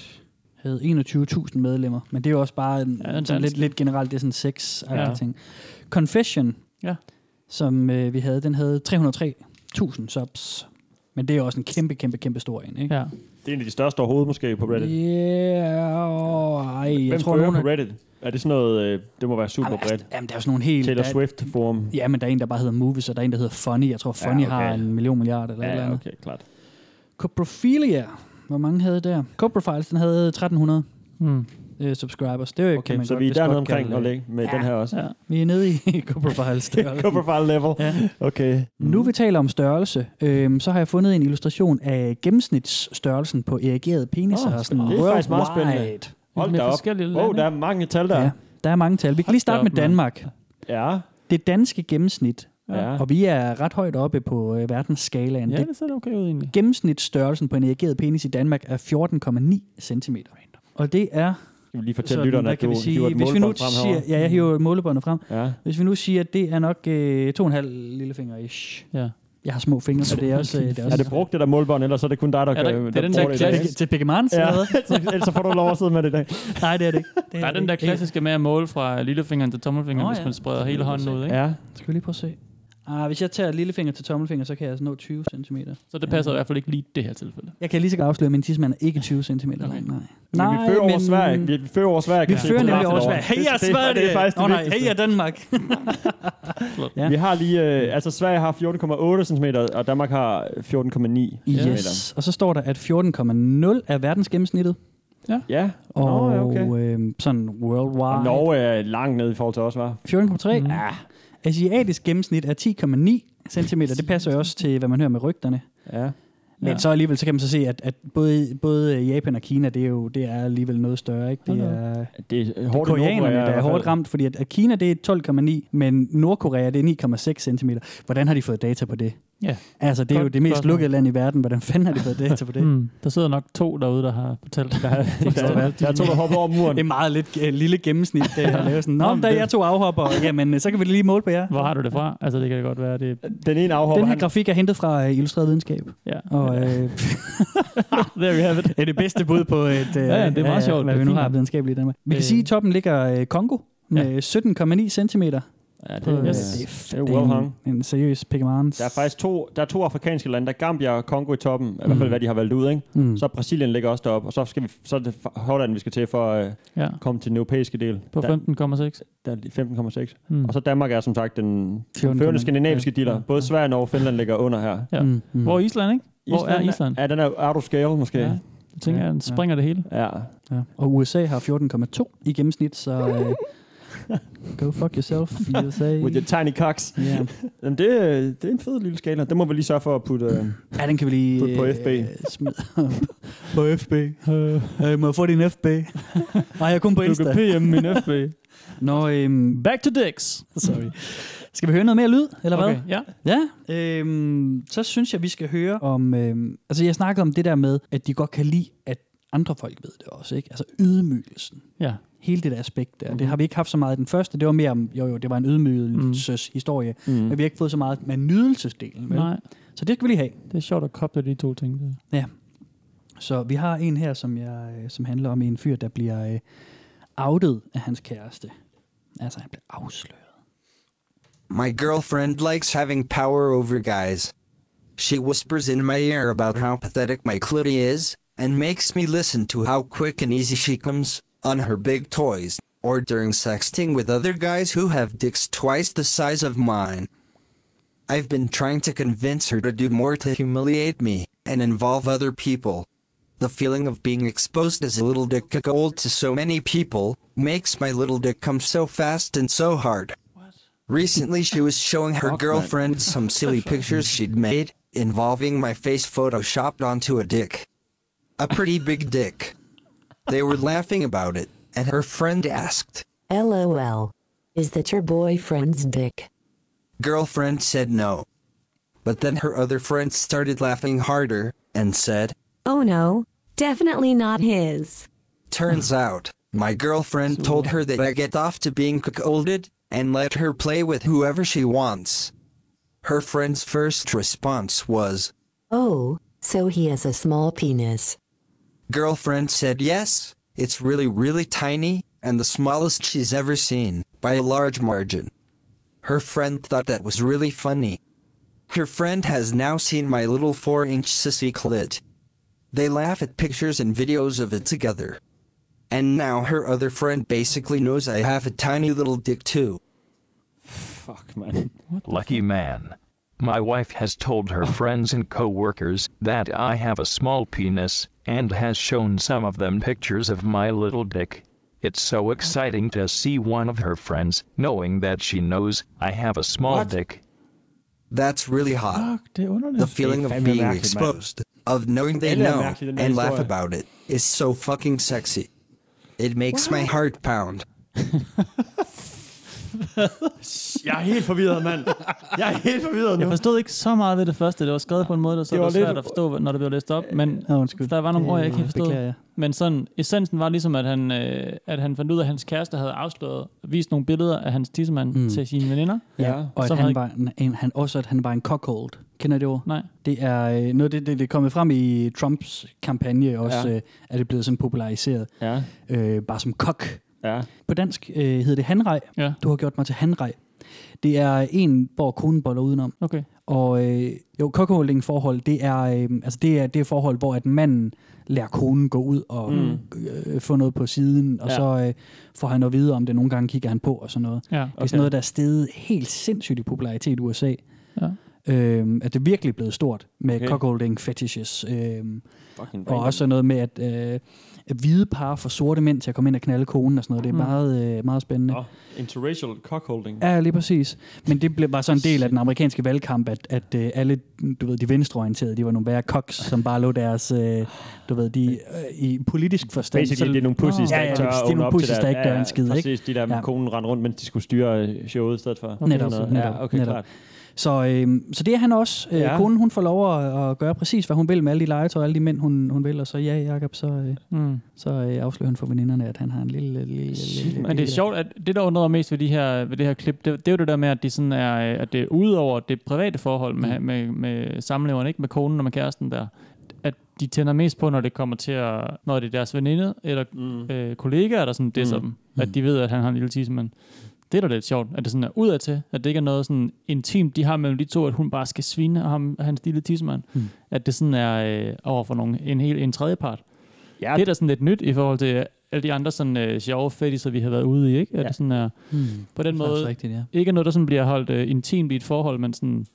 S3: havde 21.000 medlemmer, men det er jo også bare en,
S5: Ja,
S3: ja,
S5: den
S3: en sådan lidt,
S5: danske.
S3: lidt generelt, det er sådan sex
S5: Ja.
S3: ja. ting. Confession,
S5: Ja.
S3: som øh, vi havde, den havde 303.000 subs. Men det er også en kæmpe, kæmpe, kæmpe stor en, ikke?
S5: Ja.
S4: Det er en af de største overhovedet måske på Reddit.
S3: Yeah, oh, ej, jeg
S4: Hvem
S3: tror,
S4: fører
S3: nogen
S4: på
S3: af-
S4: Reddit? Er det sådan noget, øh, det må være super
S3: Jamen,
S4: bredt.
S3: altså, Jamen, der er jo sådan nogle helt...
S4: Taylor
S3: der-
S4: Swift forum.
S3: Ja, men der er en, der bare hedder Movies, og der er en, der hedder Funny. Jeg tror, Funny ja,
S4: okay.
S3: okay. har en million milliard eller ja, et eller
S4: Ja,
S3: andet.
S4: okay, klart.
S3: Coprophilia. Hvor mange havde der? Coprofiles, den havde 1300
S5: Mm.
S3: øh, subscribers. Det er jo, kan
S4: Okay,
S3: man
S4: så
S3: godt,
S4: vi er
S3: vist godt
S4: dernede omkring
S3: kalde
S4: og
S3: det.
S4: lægge med den her også.
S5: Ja.
S3: Vi er nede i Coprofiles. Det er også-
S4: Coverfile level.
S3: Ja.
S4: Okay.
S3: Nu vi taler om størrelse, øhm, så har jeg fundet en illustration af gennemsnitsstørrelsen på erigerede peniser.
S4: Åh,
S3: Oh, sådan
S4: det er faktisk meget
S3: worldwide.
S4: spændende. Hold
S5: Med
S4: da op.
S5: forskellige
S4: Wow,
S5: lande.
S4: der er mange tal der.
S3: Ja, der er mange tal. Vi kan lige starte
S5: da op,
S3: med Danmark.
S4: Ja.
S3: Det danske gennemsnit,
S4: Ja.
S3: og vi er ret højt oppe på øh, verdensskalaen.
S5: Ja,
S3: Det
S5: det ser da okay ud egentlig.
S3: gennemsnitsstørrelsen på en erigeret penis i Danmark er 14,9 cm. Og det er
S4: Skal vi lige fortælle
S3: sådan,
S4: lytterne,
S3: hvad
S4: at
S3: kan
S4: du
S3: vi sige,
S4: hiver et
S3: hvis vi nu
S4: målebånd frem
S3: siger,
S4: herovre?
S3: ja, jeg hiver målebåndet frem.
S4: Ja.
S3: Hvis vi nu siger, at det er nok øh, to og en halv lillefinger ish.
S5: Ja.
S3: Jeg har små fingre, så det er også... Øh, det er
S4: Er
S3: også
S4: det brugt, det der målbånd, eller så er det kun dig, der
S5: Er der-
S4: kan...
S5: det er den
S4: bruger
S5: der
S4: det i dag,
S5: klassisk-
S4: ikke?
S3: til Pigmans ja.
S4: Ja,
S3: eller hvad?
S4: ellers så får du lov at sidde med det i dag.
S3: Nej, det er det ikke. Det
S5: Der er den
S3: det
S5: der
S3: ikke.
S5: klassiske med at måle fra lillefingeren til tommelfingeren,
S3: Nå,
S5: hvis
S3: ja.
S5: man spreder hele hånden ud, ikke?
S4: Ja.
S3: Skal vi lige prøve at se? Ah, hvis jeg tager lillefinger til tommelfinger, så kan jeg altså nå 20 cm.
S5: Så det passer i hvert fald ikke lige i det her tilfælde.
S3: Jeg kan lige så godt afsløre, at min tidsmand er ikke 20 cm lang.
S5: Okay.
S3: Nej.
S4: Men vi fører over Sverige. Vi, vi fører over Sverige.
S3: Vi
S4: kan se
S3: fører
S4: på
S3: nemlig
S4: resten
S3: over
S4: af
S3: Sverige.
S4: året.
S3: Hey,
S4: Det- det-
S3: Sverige!
S4: Det er faktisk det
S3: Åh, nej,
S4: vigtigste.
S3: hey, Danmark! Ja.
S4: Vi har lige, øh, altså Sverige har 14,8 cm, og Danmark har 14,9 cm.
S3: Yes, og så står der, at 14,0 er verdensgennemsnittet,
S4: Ja,
S3: og
S4: Nå, ja, okay.
S3: øhm, sådan
S4: og
S3: worldwide
S4: Norge er langt nede i forhold til os, var.
S3: 14,3.
S4: Mhm.
S3: Mm. Ah. Asiatisk gennemsnit er 10,9 cm, det passer jo også til, hvad man hører med rygterne.
S4: Ja.
S3: Men
S5: Ja.
S3: så alligevel, så kan man så se, at, at både, både Japan og Kina, det er jo det er alligevel noget større. Ikke? Det
S5: Hold da
S3: er
S4: Det er hårdt i
S3: koreanerne,
S4: Nordkorea i
S3: der er
S4: hvert fald.
S3: hårdt ramt, fordi at, at Kina det er 12,9, men Nordkorea det er 9,6 cm. Hvordan har de fået data på det?
S5: Ja.
S3: Altså, det er jo
S5: Godt
S3: det mest
S5: spørgsmål.
S3: lukkede land i verden. Hvordan fanden har de fået data på det?
S5: Mm. Der sidder nok to derude, der har fortalt. Ja,
S4: Hmm. Der er, der er to, der hopper over muren.
S3: Det er meget lidt øh, lille gennemsnit, det at lave sådan. Nå,
S5: Nå,
S3: men
S5: men
S3: da
S5: det-
S3: jeg to afhopper, jamen, øh, så kan vi lige måle på jer.
S5: Hvor har du det fra? Altså, det kan da godt være, det
S4: Den ene afhopper,
S3: Den her
S4: han,
S3: grafik er hentet fra øh, Illustreret Videnskab,
S5: Ja.
S3: og øh,
S5: There we have it.
S3: er det bedste bud på, et, øh,
S5: Ja, ja, det er meget
S3: hvad-
S5: sjovt.
S3: hvad
S5: Det
S3: vi
S5: er
S3: nu
S5: fint.
S3: har videnskabeligt i Danmark. Vi kan
S5: Øh.
S3: sige, at toppen ligger øh, Kongo med 17,9 cm.
S4: ja, det,
S3: På, øh,
S4: er,
S5: yes.
S4: det,
S3: f-
S4: er well hung.
S3: en, en seriøs pigmans.
S4: Der er faktisk to, der er to afrikanske lande, der er Gambia og Kongo i toppen, i hvert fald hvad de har valgt ud, ikke?
S3: Mm.
S4: Så Brasilien ligger også deroppe, og så, skal vi, så er det Holland, vi skal til for at øh,
S5: Ja,
S4: komme til den europæiske del.
S5: på
S4: der,
S5: 15,6.
S4: der er lige 15,6.
S5: Mm.
S4: Og så Danmark er som sagt den
S3: 14,9.
S4: førende skandinaviske dealer.
S3: Ja.
S4: Både Sverige og Norge og Finland ligger under her.
S5: Ja.
S3: Mm, mm.
S5: Hvor er Island, ikke? Hvor er Island?
S4: Ja, den er out of scale måske.
S5: Ja.
S4: Ja.
S5: Jeg tænker, at den springer det hele.
S4: ja.
S3: Ja. Og USA har 14,2 i gennemsnit, så øh, go fuck yourself, USA.
S4: With the tiny cocks.
S3: yeah.
S4: Jamen, det, øh, det er en fed lille skala. Den må vi lige sørge for at putte... Øh,
S3: Ja, den kan vi lige...
S4: På- på FB.
S3: øh, smid. på FB. Øh, må jeg få din FB? Nej, jeg er kun på
S5: Du kan
S3: Insta.
S5: PM min FB.
S3: Nå, øhm,
S5: Back to dicks.
S3: sorry. Skal vi høre noget mere lyd, eller hvad?
S5: Okay, ja.
S3: Ja, øhm, så synes jeg, vi skal høre om... Øhm, altså, jeg snakkede om det der med, at de godt kan lide, at andre folk ved det også, ikke? Altså, ydmygelsen.
S5: Ja. Mhm.
S3: Hele det der aspekt der. Mm-hmm. Det har vi ikke haft så meget i den første. Det var mere om, jo jo, det var en
S5: Mhm.
S3: ydmygelseshistorie. Mm.
S4: mm.
S3: Men vi har ikke fået så meget med nydelsesdelen. Vel?
S5: Nej,
S3: Så det skal vi lige have.
S5: det er sjovt at koble de to ting. der.
S3: Så vi har en her, som, jeg, øh, som handler om en fyr, der bliver øh, outet af hans kæreste. Altså, han bliver afsløret.
S9: My girlfriend likes having power over guys. She whispers in my ear about how pathetic my clit is, and makes me listen to how quick and easy she comes on her big toys, or during sexting with other guys who have dicks twice the size of mine. I've been trying to convince her to do more to humiliate me and involve other people. The feeling of being exposed as a little dick old to so many people makes my little dick come so fast and so hard. Recently, she was showing her girlfriend some silly pictures she'd made involving my face photoshopped onto a dick. A pretty big dick. They were laughing about it, and her friend asked.
S8: LOL. Is that your boyfriend's dick?
S9: Girlfriend said no. But then her other friend started laughing harder and said,
S8: Oh no, definitely not his.
S9: Turns out, my girlfriend told her that I get off to being cuckolded and let her play with whoever she wants. Her friend's first response was,
S10: Oh, so he has a small penis.
S9: Girlfriend said yes, it's really, really tiny, and the smallest she's ever seen, by a large margin. Her friend thought that was really funny. Her friend has now seen my little 4 inch sissy clit. They laugh at pictures and videos of it together. And now her other friend basically knows I have a tiny little dick too.
S4: Fuck, man.
S11: Lucky man. My wife has told her friends and coworkers that I have a small penis and has shown some of them pictures of my little dick. It's so exciting to see one of her friends knowing that she knows I have a small dick.
S9: That's really hot.
S5: Det er underligt.
S9: The feeling of
S11: fandme
S9: being
S11: mærkeligt, mand.
S9: exposed, of knowing they
S11: Det er
S9: know
S11: mærkeligt, den her
S9: and laugh
S11: historie.
S9: about it, is so fucking sexy. It makes my heart pound.
S4: Jeg er helt forvirret, mand. Jeg er helt forvirret nu.
S5: Jeg forstod ikke så meget ved det første. Det var skrevet på en måde, der så
S4: Det
S5: det
S4: var
S5: var,
S4: lidt-
S5: svært at forstå, når det blev læst op. Men
S3: Nå, Øh, undskyld.
S5: der var nogle
S3: Det,
S5: ord, jeg ikke
S3: øh,
S5: helt forstod.
S3: beklager jeg.
S5: Men sådan, essensen var ligesom, at han, øh, at han fandt ud af, at hans kæreste havde afsløret, vist nogle billeder af hans tissemand
S3: Mm.
S5: mm. til sine veninder.
S3: Ja, og at
S5: som
S3: han
S5: havde-
S3: var en, en, han, også at han var en cuckold. Kender I det ord?
S5: Nej.
S3: Det er øh, noget, af det, det, det er kommet frem i Trumps kampagne også,
S4: Ja.
S3: ja. øh, at det blevet sådan populariseret.
S4: Ja.
S3: Øh, bare som kok.
S4: Ja.
S3: På dansk øh, hedder det hanrej.
S5: Ja.
S3: Du har gjort mig til hanrej. Det er en, hvor konen boller udenom.
S5: Okay.
S3: Og øh, jo, cuckolding forhold, det er, øh, altså det er det er forhold, hvor at manden lader konen gå ud og
S4: Mm.
S3: mm. øh, få noget på siden, og
S4: Ja.
S3: ja. så øh, får han noget videre om det. Nogle gange kigger han på og sådan noget.
S5: Ja,
S3: Det er
S4: okay.
S3: sådan noget, der er steget helt sindssygt i popularitet i USA.
S5: Ja.
S3: Øhm, at det virkelig er blevet stort med
S4: Okay.
S3: okay. cuckolding fetishes. Øhm,
S4: Fucking
S3: og også sådan noget med, at, øh, at hvide par får sorte mænd til at komme ind og knalde konen og sådan noget. Det er
S4: Mm.
S3: meget, øh, meget spændende.
S4: Nå, interracial cockholding.
S3: Ja, lige præcis. Men det blev bare sådan en del af den amerikanske valgkamp, at, at øh, alle, du ved, de venstreorienterede, de var nogle værre koks, som bare lå deres, øh, du ved, de øh, i politisk forstand.
S4: Basically,
S3: så-
S4: det er nogle pussies,
S3: Nå.
S4: der
S3: Ah. ja, ja,
S4: ikke tør
S3: det
S4: at
S3: er
S4: åbne
S3: nogle
S4: op til
S3: pussies,
S4: deres-
S3: der ikke
S4: ja,
S3: gør
S4: ja,
S3: en skid, ikke?
S4: Præcis, de der med
S3: Ja.
S4: konen rende rundt, mens de skulle styre øh, showet i stedet for.
S3: Okay. Netop,
S4: Sådan noget.
S3: netop,
S4: ja, okay,
S3: netop.
S4: klart.
S3: Så, øhm, så det er han også. Øh,
S4: Ja.
S3: ja. Konen, hun får lov at, at gøre præcis, hvad hun vil med alle de legetøj, alle de mænd, hun, hun vil. Og så, ja, Jacob, så, øh,
S5: Mm.
S3: så øh, afslører han for veninderne, at han har en lille... lille, lille, lille
S5: Men det er sjovt, at det, der undrede mig mest ved, de her, ved det her klip, det, det er jo det der med, at, de sådan er, øh, at det er ud over det private forhold
S4: Mm.
S5: med, med, med samleveren, ikke? med konen og med kæresten der, at de tænder mest på, når det kommer til at, når det er deres veninde eller
S4: Mm.
S5: øh, kollegaer, der sådan disser
S4: Mm.
S5: mm. dem, at de ved, at han har en lille tissemand. Det er da lidt sjovt, at det sådan er udadtil, at det ikke er noget sådan intimt, de har mellem de to, at hun bare skal svine og ham, hans lille tissemand.
S3: Mm.
S5: At det sådan er øh, over for nogen, en, hel, en tredje part.
S4: Ja.
S5: Det er da sådan lidt nyt i forhold til øh, alle de andre sådan, øh, sjove fetisser, vi har været ude i, ikke? At
S4: Ja.
S5: det sådan er,
S3: Hmm.
S5: på den
S3: Det er faktisk
S5: måde,
S3: rigtigt, ja.
S5: ikke er noget, der sådan bliver holdt øh, intimt i et forhold, men sådan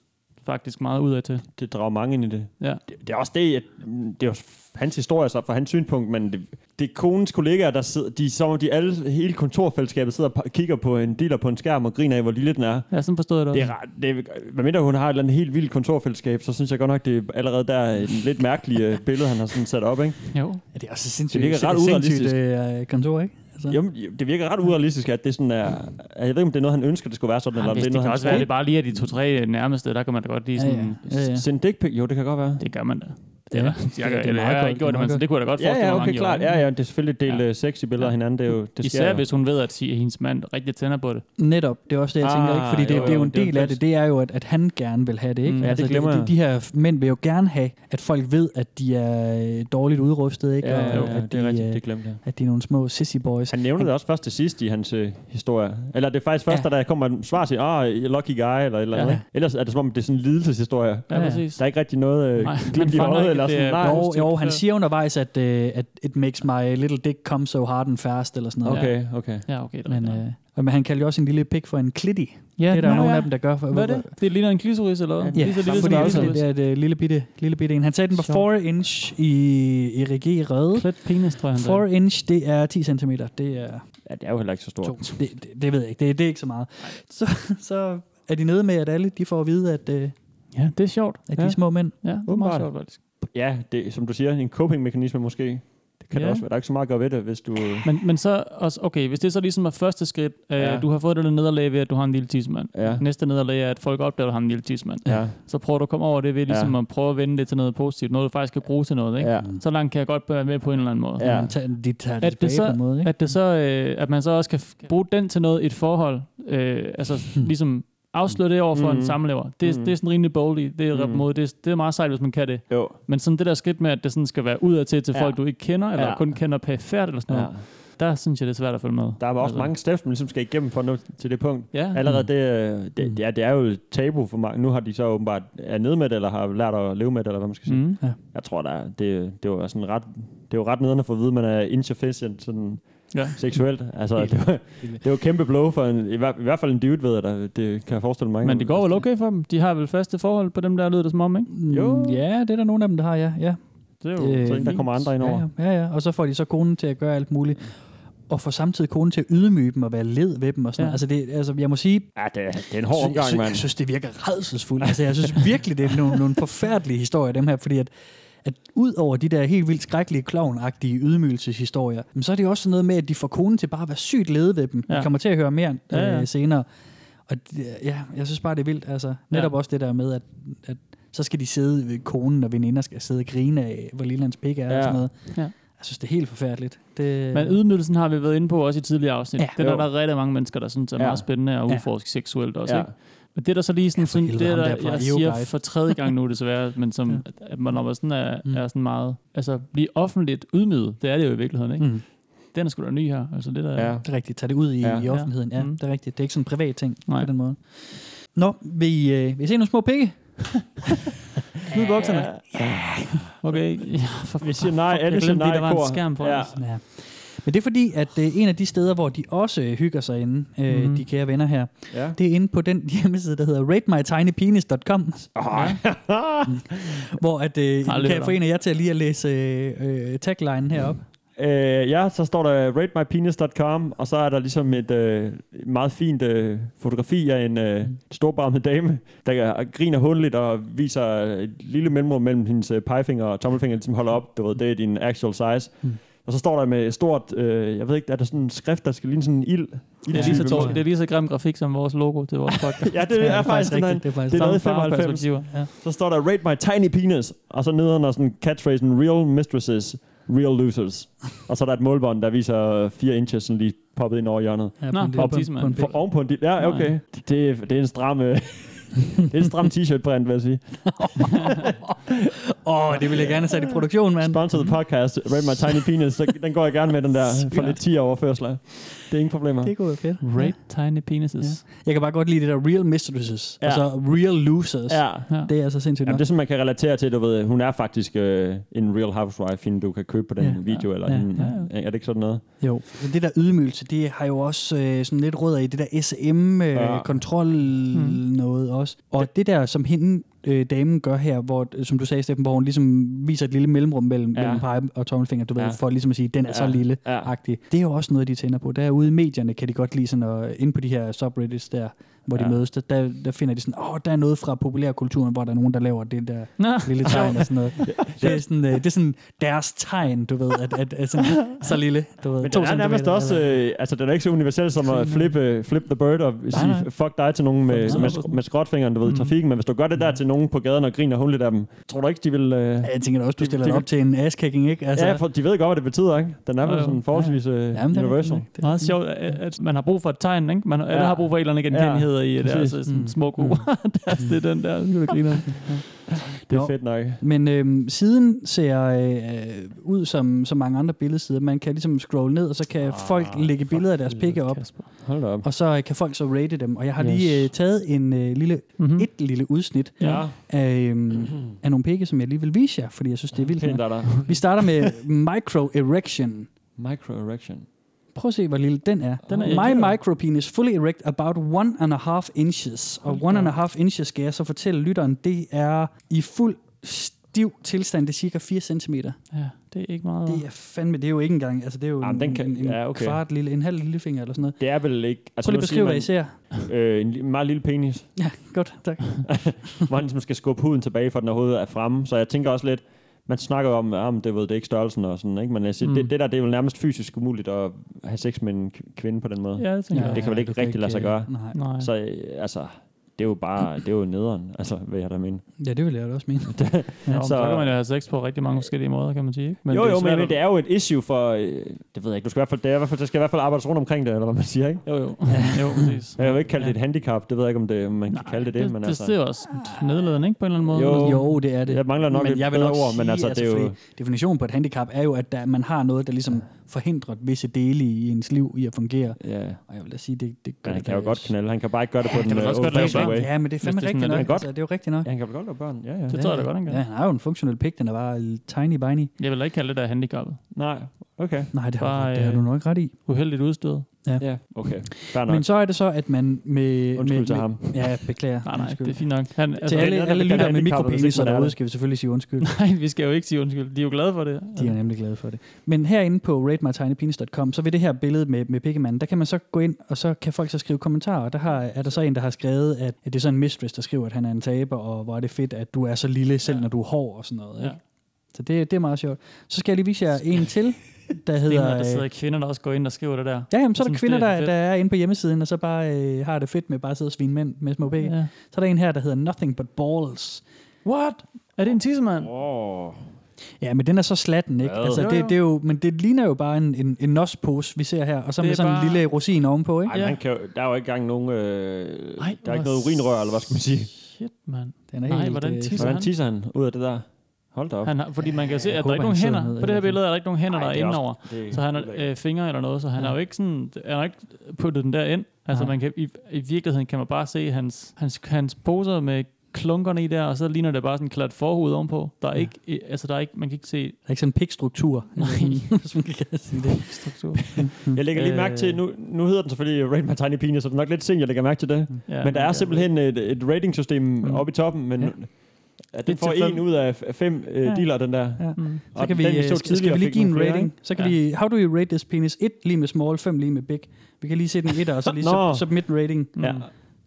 S5: faktisk meget udadtil.
S4: Det drager mange ind i det.
S5: Ja.
S4: Det, det er også det, at, mm, det er jo hans historie så fra hans synspunkt, men det, det er konens kollegaer, der sidder, de, som om de alle, hele kontorfællesskabet sidder og pa- kigger på en dealer på en skærm og griner af, hvor lille den er.
S5: Ja, sådan forstod jeg det
S4: Det
S5: også.
S4: er ret, det er, hvad mindre hun har et eller andet helt vildt kontorfællesskab, så synes jeg godt nok, det er allerede der er en lidt mærkelig øh, billede, han har sådan sat op, ikke?
S5: Jo.
S3: Ja, det er også sindssygt,
S4: Det virker ret
S3: sindssygt
S4: urealistisk.
S3: øh, kontor, ikke? Altså.
S4: Jo, men det virker ret urealistisk, at det sådan er... Jeg ved ikke, om det er noget, han ønsker, det skulle være sådan,
S5: Jamen,
S4: eller om
S5: hvis
S4: det er
S5: det
S4: noget,
S5: kan
S4: han
S5: også være, at det bare lige er de to-tre nærmeste, Altså, der kan man da godt lige
S3: Ja,
S5: sådan...
S3: ja. Ja, ja.
S4: Send dick pic? Jo, det kan godt være.
S5: Det gør man da.
S3: Ja.
S5: Ja,
S3: Det-
S5: jeg,
S3: det er
S5: jeg, jeg,
S3: meget
S5: jeg har
S3: godt,
S5: ikke
S3: det er
S5: gjort det, men
S3: meget
S5: så det kunne jeg da godt
S4: Ja,
S5: forestille
S4: ja,
S5: mig,
S4: okay,
S5: mange
S4: klart.
S5: gjorde.
S4: Ja, ja, det er selvfølgelig del
S5: Ja.
S4: ja. sexy billeder af hinanden. Det, er jo, det sker
S5: Især
S4: jo.
S5: hvis hun ved, at si- hendes mand rigtig tænder på det.
S3: Netop, det er også det, jeg tænker,
S4: Ah,
S3: ikke? Fordi det,
S4: jo,
S3: jo, det er jo en
S4: jo, det er
S3: del af
S4: fedt.
S3: det, det er jo, at, at han gerne vil have det, ikke?
S5: Mm, ja,
S4: det glemmer
S3: de,
S4: jeg.
S3: de, de her mænd vil jo gerne have, at folk ved, at de er øh, dårligt udrustet, ikke?
S4: Ja, ja,
S3: og,
S4: ja,
S3: at
S4: det er rigtigt,
S3: øh,
S4: det glemte jeg.
S3: at de er nogle små sissy boys.
S4: Han nævner det også først til sidst i hans øh, historie. Eller det er faktisk først,
S3: Ja.
S4: ja. da der kommer et svar til, ah, lucky guy, eller et eller andet.
S3: Ja.
S4: Ja. Ellers er det som om, det er sådan en lidelseshistorie.
S5: Ja,
S3: Ja, ja.
S5: præcis.
S4: Der er ikke rigtig noget øh,
S5: Nej, man
S4: glimt i
S5: fanger
S4: øjet,
S5: ikke,
S4: eller
S5: at det
S4: sådan.
S5: er
S4: Nej,
S3: Jo, jo, han
S5: Ja.
S3: siger undervejs, at, øh, at it makes my little dick come so hard and fast, eller sådan noget.
S4: okay, okay.
S5: Ja, okay. Det er
S3: Men,
S5: rigtigt.
S3: øh, og- men han kalder jo også en lille pik for en klitty.
S5: ja,
S3: det er der
S5: nå,
S3: jo nogle
S5: ja.
S3: af dem, der gør. For,
S5: Hvad er det? Det ligner en klitoris, eller hvad?
S3: Ja,
S5: Lige så lille som
S3: fordi
S5: en
S3: det,
S5: klitoris.
S3: det er et øh, lille, bitte, lille bitte en. Han sagde, den var
S5: Sjovt.
S3: 4 inch i, i Regi Røde.
S5: Klet penis, tror jeg, han
S3: 4 inch, det er 10 cm. Det er
S4: Ja, det er jo heller ikke så stort.
S3: to. Det, det, det ved jeg ikke. Det, det er ikke så meget. Så, så er de nede med, at alle de får at vide, at, øh,
S5: Ja, det er sjovt.
S3: at de
S5: ja.
S3: er små mænd.
S5: Ja, det er meget
S4: Åbenbart.
S5: sjovt, faktisk.
S4: Ja, det, er, som du siger, en coping-mekanisme måske. Det kan
S5: Ja.
S4: ja. det også være. Der er ikke så meget at gøre ved det, hvis du... øh,
S5: Men, men så også, okay, hvis det så ligesom er første skridt, øh,
S4: Ja.
S5: ja. du har fået det der nederlag ved, at du har en lille tidsmand.
S4: Ja.
S5: Næste nederlag er, at folk opdager, at du har en lille tidsmand.
S4: Ja.
S5: Så prøver du at komme over det ved ligesom ja. at prøve at vende det til noget positivt, noget du faktisk kan bruge til noget, ikke?
S4: Ja.
S5: Så langt kan jeg godt være med på en eller anden måde.
S4: Ja.
S3: Men tager- De tager det
S5: At det
S3: tilbage på
S5: så,
S3: en måde. Ikke?
S5: at, det så øh, at man så også kan f- bruge den til noget i et forhold, øh, altså ligesom afsløre det over for mm.
S4: Mhm.
S5: en samlever. Det, er-
S4: Mhm.
S5: det er sådan rimelig boldly. Det er mm.
S4: Mhm.
S5: mod, det, er- det er meget sejt, hvis man kan det.
S4: Jo.
S5: Men sådan det der skridt med, at det sådan skal være udadtil til
S4: Ja.
S5: folk, du ikke kender, eller
S4: Ja.
S5: kun kender perifært eller sådan noget. Der synes jeg, det er svært at følge med.
S4: Der er også
S5: Altså.
S4: mange steps, man ligesom skal igennem for at nå til det punkt.
S5: Ja. Mm.
S4: Allerede det, øh, det, det, er, det er jo et tabu for mange. Nu har de så åbenbart er nede med det, eller har lært at leve med det, eller hvad man skal sige.
S5: Mm.
S3: Ja.
S4: Jeg tror, der er, det, det var sådan ret, det var ret nederen at få at vide, at man er insufficient sådan
S5: Ja.
S4: ja. seksuelt. Altså, det var, det var et kæmpe blow for en, i, hvert, i hvert fald en dude, ved jeg da. Det kan jeg forestille mig.
S5: Men det går vel okay for dem? De har vel faste forhold på dem, der lyder det som om, ikke?
S3: Jo. Mm, Ja, det er der nogle af dem, der har, ja. ja.
S5: Det er jo- så der
S3: fint.
S5: kommer andre ind over.
S3: Ja, ja, ja, ja. Og så får de så konen til at gøre alt muligt. Og får samtidig konen til at ydmyge dem og være led ved dem og sådan
S4: Ja.
S3: ja. altså, det, altså, jeg må sige...
S4: Ja, det, det er en hård
S3: Jeg sy-
S4: omgang,
S3: jeg sy-
S4: mand.
S3: Jeg synes, det virker redselsfuldt. Altså, jeg synes virkelig, det er nogle, nogle forfærdelige historier, dem her, fordi at, at ud over de der helt vildt skrækkelige klovnagtige ydmygelseshistorier, men så er det jo også sådan noget med, at de får konen til bare at være sygt lede ved dem.
S5: Ja.
S3: Ja. Vi kommer til at høre mere øh,
S5: Ja,
S3: ja,
S5: ja.
S3: ja. senere. Og det- ja, jeg synes bare, det er vildt. Altså, netop
S5: Ja.
S3: ja. også det der med, at, at så skal de sidde ved konen og veninder skal sidde og grine af, hvor lille hans pik er ja.
S5: Ja.
S3: og sådan noget.
S5: Ja.
S3: Jeg synes, det er helt forfærdeligt. Det,
S4: Øh.
S5: Men ydmygelsen har vi været inde på også i tidligere afsnit. Ja,
S3: Ja.
S5: den er
S3: Jo.
S5: der rigtig mange mennesker, der synes er
S3: Ja.
S5: meget spændende og
S3: Ja.
S5: udforske seksuelt også. Ja.
S3: Ja.
S5: Ikke? Men det der så lige sådan, sådan det
S3: helvede,
S5: der,
S3: ham
S5: der
S3: der fra
S5: jeg siger
S3: Yoguide.
S5: for tredje gang nu desværre, men som, ja. at man når man sådan er, mm. er sådan meget, altså blive offentligt ydmyget, det er det jo i virkeligheden, ikke?
S3: Mm.
S5: Den er sgu da ny her. Altså det der,
S3: Ja. Det er rigtigt. Tag det ud i, ja. i offentligheden. Ja,
S5: Mm.
S3: det er rigtigt. Det er ikke sådan en privat ting
S5: Nej.
S3: Nej. på den måde. Nå, vil I, øh, vil I se nogle små pikke? Ud i bukserne. Ja.
S5: Okay. Ja, for,
S4: Vi siger nej, alle siger nej.
S5: der var
S4: kor.
S5: en skærm på.
S4: Ja.
S5: Ja.
S3: Ja. Men det er fordi, at øh, en af de steder, hvor de også øh, hygger sig inde, øh,
S5: Mhm.
S3: mm-hmm. de kære venner her,
S4: Ja.
S3: det er inde på den hjemmeside, der hedder ratemytinypenis.com. Mm. hvor at, øh,
S4: hørt
S3: kan jeg få
S4: om.
S3: en af jer til at lige at læse øh, øh, taglinen herop.
S4: Øh, ja, så står der ratemypenis.com, og så er der ligesom et øh, meget fint øh, fotografi af en øh,
S5: Mm.
S4: storbarmet dame, der øh, griner hundligt og viser et lille mellemrum mellem hendes øh, pegefinger og tommelfinger, ligesom holder op, du ved, det er din actual size.
S3: Mm.
S4: Og så står der med et stort, øh, jeg ved ikke, er der sådan en skrift, der skal ligne sådan en ild?
S5: Det er, lige så tårligt. det er lige så grim grafik som vores logo til vores podcast.
S4: Ja, det, det er, faktisk den her- Det er lavet i
S5: Samme farve-
S4: 95.
S5: perspektiver.
S3: Ja.
S4: Så står der, rate my tiny penis. Og så nedenunder sådan catchphrasen, real mistresses, real losers. og så er der et målbånd, der viser øh, fire inches, sådan lige poppet ind over hjørnet.
S3: Ja, på Nå, en lille- på en-
S5: på en pik.
S4: For, oven på en lille- Ja,
S5: Nå, ja.
S4: okay. Det, er- det er en stram... øh, det er en stram t-shirt-print, vil jeg sige.
S3: Åh, oh, det vil jeg gerne have sat i produktion, mand.
S4: Sponsored podcast, Rate My Tiny Penis. så Den går jeg gerne med, den der, for
S3: Sygt.
S4: lidt 10 overførsler. Det er ingen problemer.
S3: Det kunne være fedt.
S5: Rate tiny penises.
S3: Jeg kan bare godt lide det der real mistresses,
S4: Ja.
S3: ja. og så real losers.
S4: Ja.
S3: Det er altså sindssygt
S4: Jamen,
S3: nok.
S4: det er sådan, man kan relatere til, du ved, hun er faktisk øh, en real housewife, hende du kan købe på den
S3: Ja.
S4: video, eller
S3: Ja.
S4: ja. En, er det ikke sådan noget?
S3: Jo, men det der ydmygelse, det har jo også øh, sådan lidt rødder i det der
S4: Ja.
S3: SM-kontrol
S4: Mm.
S3: noget også. Og det der, som hende øh, damen gør her, hvor, øh, som du sagde, Steffen, hvor hun ligesom viser et lille mellemrum mellem,
S4: Ja.
S3: ja. mellem pege og tommelfinger, du ved,
S4: Ja.
S3: ja. for ligesom at sige, den er så
S4: Ja.
S3: lille
S4: Ja.
S3: agtig. Det er jo også noget, de tænder på. Der ude i medierne kan de godt lide sådan, at, inde på de her subreddits der, hvor de
S4: Ja.
S3: mødes, der, der, der finder de sådan, åh, der er noget fra populærkulturen, hvor der er nogen, der laver det der
S5: Nå.
S3: lille tegn og sådan noget. Det er sådan, øh, det er sådan deres tegn, du ved, at, at, at sådan, så lille, du ved.
S4: Men
S3: to
S4: den er nærmest
S3: centimeter,
S4: også,
S3: eller-
S4: øh, altså den er ikke så universel som at flippe, flip the bird og sige
S3: nej.
S4: fuck dig til nogen med,
S3: Fuck
S4: med,
S3: dig.
S4: sk- med skråtfingeren, du ved, i
S3: Mhm.
S4: trafikken, men hvis du gør det der til nogen på gaden og griner hundligt af dem, tror du ikke, de vil... Øh, ja,
S3: jeg tænker da også, du stiller dig op til en asskicking, ikke?
S4: Altså, ja, for de ved godt, hvad det betyder, ikke? Den er
S5: Jo,
S4: vel
S5: jo.
S4: sådan forholdsvis øh,
S3: det er
S4: universal.
S5: Det er meget sjovt, at at man har brug for et tegn, ikke? Man, Alle har brug for en eller anden genkendelighed i det, altså
S4: Mm.
S5: sådan små gode. det er den der, nu griner.
S4: Det er
S3: Nå.
S4: fedt nok.
S3: Men øhm, siden ser øh, ud som så mange andre billedsider. Man kan ligesom scrolle ned, og så kan ah, folk lægge billeder af deres pikke op.
S4: Hold da op.
S3: Og så øh, kan folk så rate dem. Og jeg har lige
S4: Yes.
S3: øh, taget en øh, lille,
S5: Mhm.
S3: mm-hmm. et lille udsnit
S4: Ja.
S3: af, øhm, af nogle pikke, som jeg lige vil vise jer, fordi jeg synes, det er vildt.
S4: Pænt
S3: nok.
S4: er der.
S3: Vi starter med micro erection.
S4: Micro erection.
S3: Prøv at se, hvor lille den er.
S4: Den
S3: Den
S4: er
S3: er
S4: ikke-
S3: My micropenis fully erect about one and a half inches. Og one and a half inches, skal jeg så fortælle lytteren, det er i fuld stiv tilstand, det er cirka 4 cm.
S5: Ja, det er ikke meget.
S3: Det er fandme, det er jo ikke engang, altså det er jo
S4: Jamen,
S3: Jamen,
S4: den
S3: en,
S4: kan-
S3: kan, en, en
S4: ja, okay.
S3: kvart lille, en halv lillefinger eller sådan noget.
S4: Det er vel ikke...
S3: Prøv
S4: altså,
S3: lige
S4: nu
S3: at
S4: siger
S3: beskrive,
S4: man, Øh, en li- meget lille penis.
S3: Ja, godt, tak.
S4: hvor han ligesom skal skubbe huden tilbage, for den overhovedet er fremme. Så jeg tænker også lidt, man snakker jo om, om det, ved, det er ikke størrelsen og sådan, ikke? men altså, mm.
S5: Mm.
S4: det, det, der det er jo nærmest fysisk umuligt at have sex med en kv- kvinde på den måde.
S5: Ja, det tænker
S4: det
S5: jeg.
S4: kan vel ikke
S5: Ja, det kan
S4: rigtig lade sig
S5: ikke,
S4: gøre.
S5: øh, nej.
S4: Så øh, altså, det er jo bare, det er jo nederen, altså, hvad jeg da mener.
S3: Ja, det vil jeg da også mene.
S5: Ja, så, så kan man jo have sex på rigtig mange forskellige måder, kan man sige. Ikke?
S4: Men jo, jo,
S5: svært
S4: men, men
S5: at-
S4: det er jo et issue for... øh, Det ved jeg ikke. Du skal i hvert fald, det er, i hvert fald, der skal i hvert fald arbejdes rundt omkring det, eller hvad man siger, ikke?
S5: Jo, jo. jo præcis.
S4: jeg vil ikke kalde det et handicap. Det ved jeg ikke, om det, om man kan kalde det det. men
S5: det,
S4: altså,
S5: det er også nedladende, ikke? På en eller anden måde.
S4: Jo.
S3: Jo, det er det.
S4: Jeg mangler nok
S3: men
S4: et
S3: jeg vil
S4: bedre
S3: nok
S4: ord,
S3: sige,
S4: men altså, det er jo-
S3: fordi Definitionen på et handicap er jo, at der, man har noget, der ligesom forhindrer visse dele i ens liv i at fungere.
S4: Ja.
S3: Og jeg vil da sige, det, det gør
S4: Men han
S3: det
S4: kan jo
S3: da-
S4: godt knalde. Han kan bare ikke gøre det på
S3: Ja,
S4: den
S3: kan man
S4: øh,
S3: også godt lave
S4: old-fashioned
S3: børn.
S4: way.
S3: Ja, men det er fandme
S4: Hvis sådan,
S3: rigtigt
S4: at-
S3: nok.
S4: Han kan
S3: Altså, det er jo rigtigt nok.
S4: Ja, han kan vel godt lave børn. Ja, ja.
S5: Det tror jeg da godt, han kan.
S3: Ja, han har jo en funktionel pik, den er bare tiny-biny.
S5: Jeg vil da ikke kalde det der handicappet.
S4: Nej, okay.
S3: Nej, det har,
S5: Bare,
S3: Bare, det har
S5: øh,
S3: du nok ret i.
S5: Uheldigt udstød.
S3: Ja.
S4: Ja, okay. Fair nok.
S3: Men så er det så, at man med...
S4: Undskyld
S3: med,
S4: til
S3: med-
S4: ham.
S3: Ja, beklager.
S5: Nej, nej,
S3: Undskyld.
S5: det er fint nok. Han, altså,
S3: Til alle,
S4: det er
S3: alle
S4: noget, der
S3: lytter med
S4: kan handicap, hvis ikke
S3: mikropeniser
S4: man er
S3: derude,
S4: det.
S3: skal vi selvfølgelig sige undskyld.
S5: Nej, vi skal jo ikke sige undskyld. De er jo glade for det.
S3: De er nemlig glade for det. Men herinde på ratemytinypenis.com, så ved det her billede med, med pikkemanden, der kan man så gå ind, og så kan folk så skrive kommentarer. Og der har, er der så en, der har skrevet, at, at det er så en mistress, der skriver, at han er en taber, og hvor er det fedt, at du er så lille, selv ja. når du er hård og sådan noget. Ikke?
S5: Ja.
S3: Så det, det er meget sjovt. Så skal jeg lige vise jer en til, der
S5: Det er,
S3: hedder...
S5: der sidder
S3: øh,
S5: kvinder, der også går ind og skriver det der.
S3: Ja, jamen, så er der
S5: Synes,
S3: kvinder,
S5: det er
S3: der,
S5: fedt.
S3: der er inde på hjemmesiden, og så bare øh, har det fedt med bare at sidde og svine mænd med små ben.
S5: Ja.
S3: Så er der en her, der hedder Nothing But Balls.
S5: What? Er det en tissemand?
S4: Wow.
S3: Ja, men den er så slatten, ikke?
S4: Hvad?
S3: Altså,
S4: Jo,
S3: det,
S4: jo.
S3: det er jo, men det ligner jo bare en, en, en nospose, vi ser her, og så
S5: Det
S3: med
S5: er
S3: sådan
S5: bare-
S3: en lille rosin ovenpå, ikke?
S4: Ej,
S5: Ja.
S4: man kan, jo- der er jo ikke engang nogen... Øh,
S5: Ej,
S4: der er ikke
S5: hvor
S4: noget urinrør, eller hvad skal man sige?
S5: Shit, mand.
S3: Den er
S5: Nej,
S3: helt,
S5: hvordan
S3: øh,
S5: tisser
S4: Hvordan
S5: han?
S4: tisser han ud af det der? Hold da op.
S5: Han har, fordi man kan se, at der
S3: håber,
S5: er ikke
S3: han
S5: nogen
S3: sidder
S5: hænder.
S3: ned
S5: På det her
S3: eller
S5: binde er der ikke nogen hænder,
S4: Ej,
S5: der er
S4: det er
S5: inde
S4: også-
S5: over.
S4: det er
S5: Så han har
S4: ulækkert.
S5: øh, fingre eller noget, så han
S3: Ja.
S5: har jo ikke sådan, han har ikke puttet den der ind. Altså
S3: Nej.
S5: man kan, i, i virkeligheden kan man bare se hans, hans, hans poser med klunkerne i der, og så ligner det bare sådan en klat forhoved ovenpå. Der er
S3: Ja.
S5: ikke, øh, altså der er ikke, man kan ikke se
S3: Der er ikke sådan en pikstruktur, eller sådan, hvis man kan sige det.
S5: struktur.
S4: Mm. Jeg lægger lige mærke
S3: Øh.
S4: til, nu, nu hedder den selvfølgelig Rate My Tiny Penis, så det er nok lidt sent, jeg lægger mærke til det.
S3: Mm.
S5: Ja,
S4: Ja, men der er simpelthen et, et rating-system mm. oppe i toppen, men
S3: Ja.
S4: ja. at den
S5: Et
S4: får
S5: til fem.
S4: en ud af f- af fem øh,
S3: Ja.
S4: dealer, den der. Ja.
S3: Ja.
S5: Mm.
S3: Så kan
S4: Og
S3: vi,
S4: den, vi
S3: øh,
S4: så
S3: skal, skal
S4: tidligere,
S3: vi lige
S4: fik
S3: give en
S4: nogle flere,
S3: rating? Så kan
S5: Ja.
S3: vi, how do you rate this penis? 1 lige med small, 5 lige med big. Vi kan lige se den 1 og så lige
S4: Nå.
S3: sub- submit rating. Mm.
S4: Ja.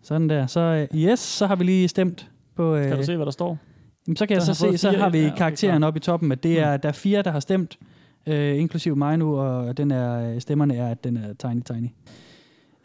S3: Sådan der. Så øh, yes, så har vi lige stemt på...
S5: Kan
S3: Øh,
S5: du se, hvad der står?
S3: Jamen, så kan jeg
S5: Den
S3: så
S5: har
S3: se,
S5: fået
S3: så
S5: fire.
S3: har vi
S5: Ja,
S3: ja,
S5: okay,
S3: karakteren
S5: klar.
S3: oppe i toppen, at det er, der er fire, der har stemt, øh, inklusiv mig nu, og den er, øh, stemmerne er, at den er tiny, tiny.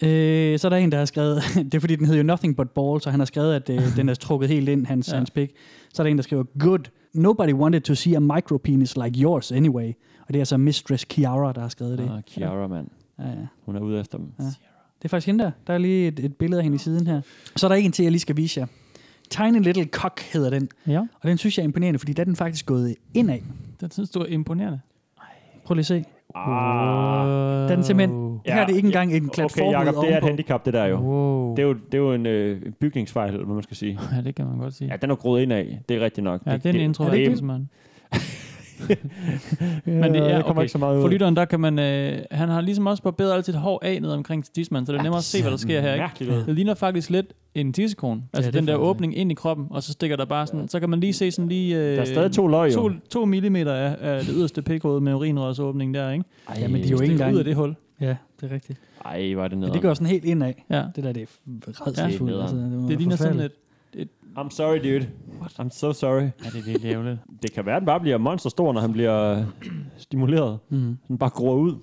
S3: Øh, så er der en, der har skrevet, det er fordi, den hedder jo Nothing But Ball, så han har skrevet, at øh, den er trukket helt ind, hans,
S5: Ja.
S3: ja. hans pick. Så er der en, der skriver, good, nobody wanted to see a micropenis like yours anyway. Og det er altså Mistress Kiara, der har skrevet det.
S4: Ah, Kiara, mand.
S3: Ja, ja.
S4: Hun er ude efter dem.
S3: Ja. Det er faktisk hende der. Der er lige et, et billede af hende i siden her. Så er der en til, jeg lige skal vise jer. Tiny Little Cock hedder den.
S5: Ja.
S3: Og den synes jeg er imponerende, fordi der er den faktisk gået indad.
S5: Den synes du er imponerende.
S3: Prøv lige at se.
S4: Ah.
S3: Den er simpelthen,
S4: Ja,
S3: her er det ikke engang en klat
S4: Okay,
S3: okay,
S4: Jacob,
S3: forhud
S4: det er et
S3: ovenpå.
S4: handicap, det der jo.
S5: Wow.
S4: Det er jo, det er jo en øh, en bygningsfejl, eller hvad man skal sige.
S5: Ja, det kan man godt sige.
S4: Ja, den er groet ind af. Det er rigtigt nok.
S5: Ja, det er en intro.
S4: det,
S5: Det, mand. Men det,
S4: ja,
S5: ja,
S4: det kommer
S5: okay.
S4: ikke så meget ud.
S5: For lytteren, der kan man... Øh, han har ligesom også barberet alt sit hår af ned omkring til tismanden, så det er nemmere at se, hvad der sker her. Ikke?
S4: Mærkeligt ud.
S5: Det ligner faktisk lidt en tissekone. Altså
S3: det
S5: ja, den der
S3: faktisk
S5: åbning ind i kroppen, og så stikker der bare sådan... Så kan man lige se sådan lige... Øh,
S4: Der er stadig to løg,
S5: to,
S4: jo.
S5: to millimeter af, af det yderste pikhoved med urinrørsåbningen der, ikke?
S4: Ej,
S3: Ja, men de er jo ikke
S5: Det er
S3: engang...
S5: ud af det hul.
S3: Ja, det er rigtigt.
S4: Ej, var det
S3: Men
S4: nederen.
S3: det går sådan helt indad.
S5: Ja.
S3: Det der, det er redselsfuldt.
S4: nederen.
S3: altså, må
S5: Det
S3: være
S5: ligner sådan
S3: forfærdeligt.
S5: lidt...
S4: I'm sorry, dude. What? I'm so sorry.
S5: Ja, det er virkelig ærgerligt.
S4: Det kan være, at den bare bliver monsterstor, når han bliver øh, stimuleret.
S3: Mhm.
S4: Den bare gror ud.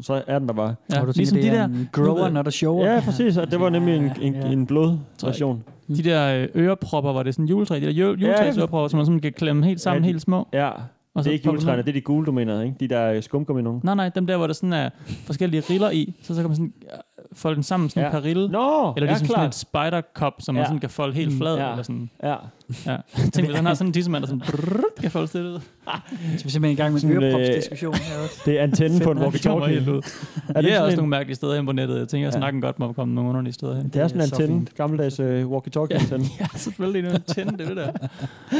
S4: Så er den der bare.
S5: Ja,
S3: Og du
S5: ligesom
S3: tænker, det
S5: de
S3: er
S5: der...
S3: en
S5: du
S3: grower,
S5: ved-
S3: not a shower.
S4: Ja, præcis. Og det var nemlig en, en,
S3: Ja.
S4: en blodversion.
S5: De der øh, ørepropper, var det sådan juletræ, de der jule- juletræsørepropper, som man sådan kan klemme helt sammen,
S4: Ja, de-
S5: helt små.
S4: Ja.
S5: Og
S4: Det
S5: så
S4: er ikke
S5: popper den
S4: juletræerne,
S5: ud.
S4: det er de gule, du mener, ikke? De der øh, skumgummi nogen.
S5: Nej, nej, dem der, hvor der sådan er forskellige riller i, så, så kan man sådan øh, folde den sammen sådan ja.
S4: Ja.
S5: en par rille.
S4: Nå,
S5: Eller
S4: ja,
S5: ligesom sådan en
S4: klart.
S5: spider-cup, som man
S4: Ja. Mm,
S5: sådan kan folde helt flad.
S4: Ja.
S5: Eller sådan.
S4: Ja.
S5: Ja. Tænk, hvis han har sådan en tissemand, der sådan brrrr, kan folde stillet ud.
S3: Så vi er simpelthen i gang med en
S4: Sådan, øh,
S3: ørepropsdiskussion her også.
S4: Det er antennen på en
S5: Det kommer helt
S4: walkie-talkie.
S5: ud.
S4: Er
S5: Det er også
S4: sådan en,
S5: nogle mærkelige steder hen på nettet. Jeg tænker, jeg
S4: Ja.
S5: snakker godt med at komme nogle underlige steder hen.
S4: det er sådan en
S3: Det er så
S4: antenne.
S3: fint.
S4: Gammeldags øh, walkie-talkie-antenne.
S5: Ja, selvfølgelig. Nu tænde det, det der.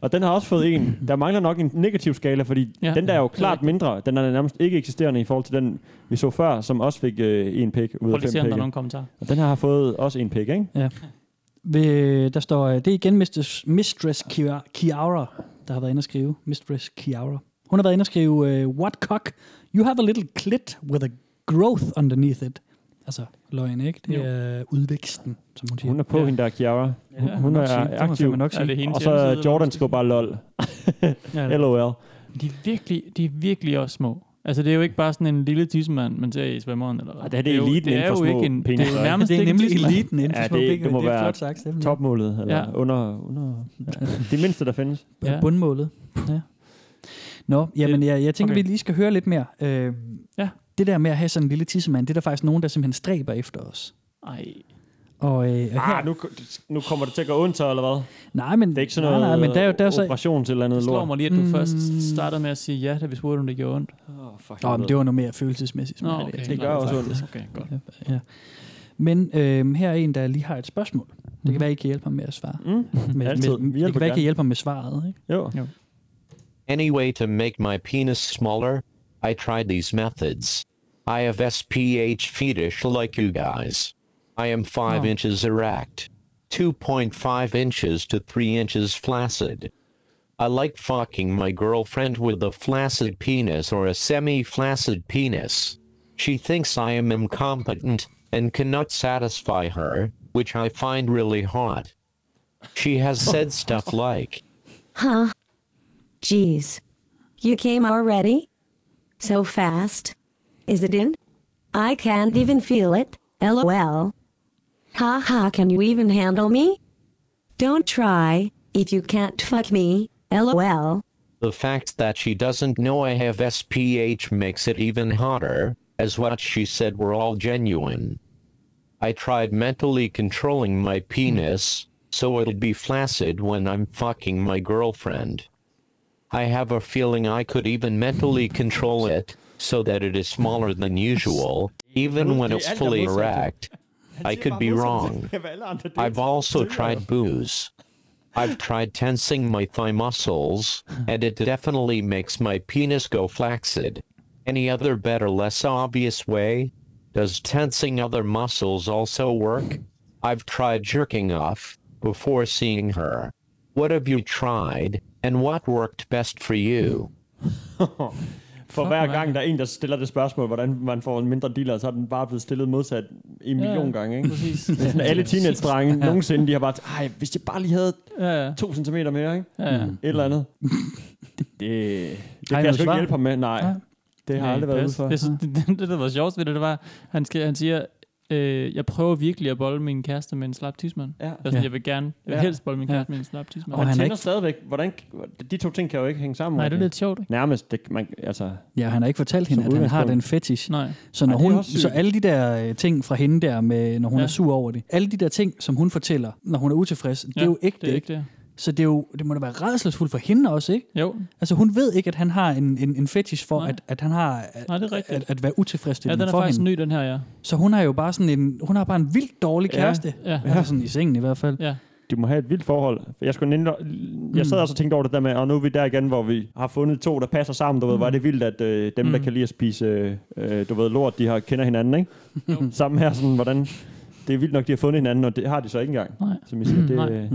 S4: Og den har også fået en. Der mangler nok en negativ skala, fordi
S5: Ja.
S4: ja. den der er jo
S5: Det er
S4: klart
S5: rigtigt.
S4: mindre. Den er nærmest ikke eksisterende i forhold til den, vi så før, som også fik øh, en pik ud
S5: Prøv lige
S4: af fem
S5: at se, om der er
S4: pikke.
S5: nogle kommentarer.
S4: Og den her har fået også en pik, ikke?
S3: Ved, der står, øh, det er igen Mistress, Mistress Kiara- Kiara, der har været inde og skrive. Mistress Kiara. Hun har været inde og skrive, uh, what cock? You have a little clit with a growth underneath it. Altså, løgn, ikke? Det
S5: Jo.
S3: er udvæksten, som hun siger.
S4: Hun er på
S5: Ja.
S4: ja. hende der, Kiara. Hun,
S5: Ja,
S4: ja, hun er
S3: nok sige. Det må man
S4: aktiv.
S3: fandme nok
S5: sige. Er det hendes
S4: og så
S5: hjemmeside,
S4: Jordan
S5: eller
S4: skriver bare lol.
S3: Ja,
S4: LOL.
S5: De er virkelig, de er virkelig også små. Altså, det er jo ikke bare sådan en lille tissemand, man ser i svømmeren. Eller hvad.
S4: det er
S5: jo-
S4: eliten
S5: det er
S4: inden for
S5: jo
S4: små
S5: ikke en, Det
S4: peniser,
S5: er
S4: ikke?
S5: jo nærmest
S4: Det er
S5: ikke en
S4: nemlig
S5: tissemand.
S4: eliten inden for Ja, små det- peniser. det må Det er være flot sagt, Steffen. topmålet, eller under- under- det mindste, der findes.
S3: Ja. Bundmålet. Ja. Nå, jamen jeg, jeg tænker,
S4: okay.
S3: okay. vi lige skal høre lidt mere. Øh,
S5: ja.
S3: Det der med at have sådan en lille tissemand, det er der faktisk nogen, der simpelthen stræber efter os.
S5: Ej.
S3: Og, øh, og her,
S4: Ah, nu, nu kommer det til at gå ondt, så, eller hvad?
S3: Nej, men,
S4: det er ikke sådan
S3: nej,
S4: noget
S3: nej, men der er jo- der er jo så-
S4: operation til eller andet
S5: Det slår
S4: lort.
S5: mig lige, at du mm. først startede med at sige ja, da vi spurgte, om det gjorde ondt.
S4: Oh, fuck,
S3: Nå, men det var noget mere følelsesmæssigt.
S5: Nå,
S3: men jeg
S5: okay.
S3: tænker
S5: Det gør også
S3: faktisk-
S5: ondt. Okay, godt.
S3: Ja. Men øh, her er en, der lige har et spørgsmål. Det kan være, I kan hjælpe ham med at svare.
S4: Mm.
S3: Med,
S12: Altid. Vi
S3: Med, det
S12: hjælper
S3: kan være, I
S12: gerne.
S3: kan hjælpe ham med svaret. Ikke?
S4: Jo.
S3: jo.
S12: Any way to make my penis smaller? I tried these methods. I have SPH fetish like you guys. I am 5
S13: Oh.
S12: inches erect, 2.5 inches to 3 inches flaccid. I like fucking my girlfriend with a flaccid penis or a semi flaccid penis. She thinks I am incompetent and cannot satisfy her, which I find really hot. She has said stuff like,
S8: Huh? Jeez. You came already? So fast. Is it in? I can't even feel it. LOL. Ha ha, can you even handle me? Don't try, if you can't fuck me. LOL.
S12: The fact that she doesn't know I have SPH makes it even hotter, as what she said were all genuine. I tried mentally controlling my penis, so it'll be flaccid when I'm fucking my girlfriend. I have a feeling I could even mentally control it, so that it is smaller than usual, even when it's fully erect. I could be wrong. I've also tried booze. I've tried tensing my thigh muscles, and it definitely makes my penis go flaccid. Any other better, less obvious way? Does tensing other muscles also work? I've tried jerking off before seeing her. What have you tried, and what worked best for you?
S4: For hver gang, der er en, der stiller det spørgsmål, hvordan man får en mindre dealer, så er den bare blevet stillet modsat en
S5: Ja,
S4: million gange. Ikke?
S5: præcis.
S4: Det er sådan, alle
S5: Præcis.
S4: teenage-drenge
S5: Ja.
S4: nogensinde, de har bare, t- ej, hvis jeg bare lige havde
S5: Ja, ja.
S4: to centimeter mere, ikke? Mm.
S5: Ja, ja.
S4: Et eller andet. det, det kan
S5: noget
S4: jeg sgu ikke
S5: svar?
S4: hjælpe ham med, nej.
S5: Ja.
S4: Det har
S5: Nej,
S4: aldrig været ude
S5: pas.
S4: for.
S5: Jeg synes, det, det, det, der var sjovt ved det, det var, han, skrev, han siger, øh, jeg prøver virkelig at bolde min kæreste med en slap tidsmand.
S4: Ja.
S5: Sådan, Jeg vil gerne, jeg vil helst bolde min kæreste med en slap tidsmand.
S4: Og han, tænker stadigvæk, hvordan, de to ting kan jo ikke hænge sammen.
S5: Nej, det er
S4: rigtig.
S5: lidt sjovt, ikke?
S4: Nærmest, det, man, altså,
S3: Ja, han har ikke fortalt hende,
S4: Som
S3: at han har den
S4: udgangspunkt.
S3: fetish.
S5: Nej.
S3: Så, når
S4: Ej, det er
S3: hun,
S4: også sygt.
S3: så alle de der øh, ting fra hende der, med, når hun
S4: Ja.
S3: ja. er sur over det, alle de der ting, som hun fortæller, når hun er utilfreds, det
S5: Ja,
S3: er jo ikke
S5: det er
S3: det.
S5: ægte.
S3: Så det, er jo, det må da være redselsfuldt for hende også, ikke?
S5: Jo.
S3: Altså hun ved ikke, at han har en, en, en fetish for, at, at han har at,
S5: Nej, det er rigtigt.
S3: at, at være utilfredsstillende
S5: Ja, den er
S3: for
S5: faktisk
S3: hende.
S5: ny, den her, ja.
S3: Så hun har jo bare sådan en, hun har bare en vildt dårlig
S5: Ja,
S3: kæreste.
S5: ja.
S3: Altså sådan i sengen i hvert fald.
S5: Ja.
S4: de må have et vildt forhold. For Jeg, skulle nemlig, jeg sad
S3: Mm.
S4: også og tænkte over det der med, og nu er vi der igen, hvor vi har fundet to, der passer sammen. Du ved, hvor er det vildt, at øh, dem, der
S3: Mm.
S4: kan lide at spise øh, du ved, lort, de har, kender hinanden, ikke? sammen her, sådan, hvordan... Det er vildt nok, de har fundet hinanden, og det har de så ikke engang.
S5: Nej.
S4: Som I
S3: Mm.
S4: siger, det,
S5: Nej.
S4: øh,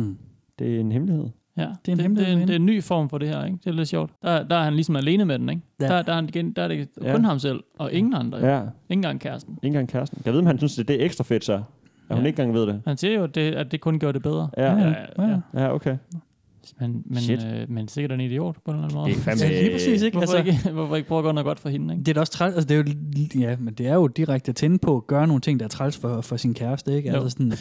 S4: det er en hemmelighed.
S5: Ja, det er en, det, det, er en, det er en ny form for det her, ikke? Det er lidt sjovt. Der, der er han ligesom alene med den, ikke?
S4: Ja.
S5: Ja. Der, der, er han igen, der er det kun
S4: Ja.
S5: ham selv, og ingen andre.
S4: Ja.
S5: Ikke engang kæresten.
S4: Ikke engang kæresten. Jeg ved, om han synes, at det er ekstra fedt, så. At ja. hun
S5: Ja.
S4: ikke engang ved det.
S5: Han siger jo, at det, at det kun gjorde det bedre.
S4: Ja, ja,
S5: ja. ja.
S4: ja okay.
S5: Men,
S4: Shit.
S5: men, øh, men sikkert en idiot på en eller anden måde.
S4: Det er fandme- Ja, lige præcis, ikke?
S5: Hvorfor,
S3: Altså-
S5: altså... ikke, hvorfor ikke prøve at gøre noget godt for hende, ikke?
S3: Det er da også træls, altså det er jo, ja, men det er jo direkte at tænde på at gøre nogle ting, der er træls for, for sin kæreste, ikke?
S5: Jo.
S3: Altså sådan,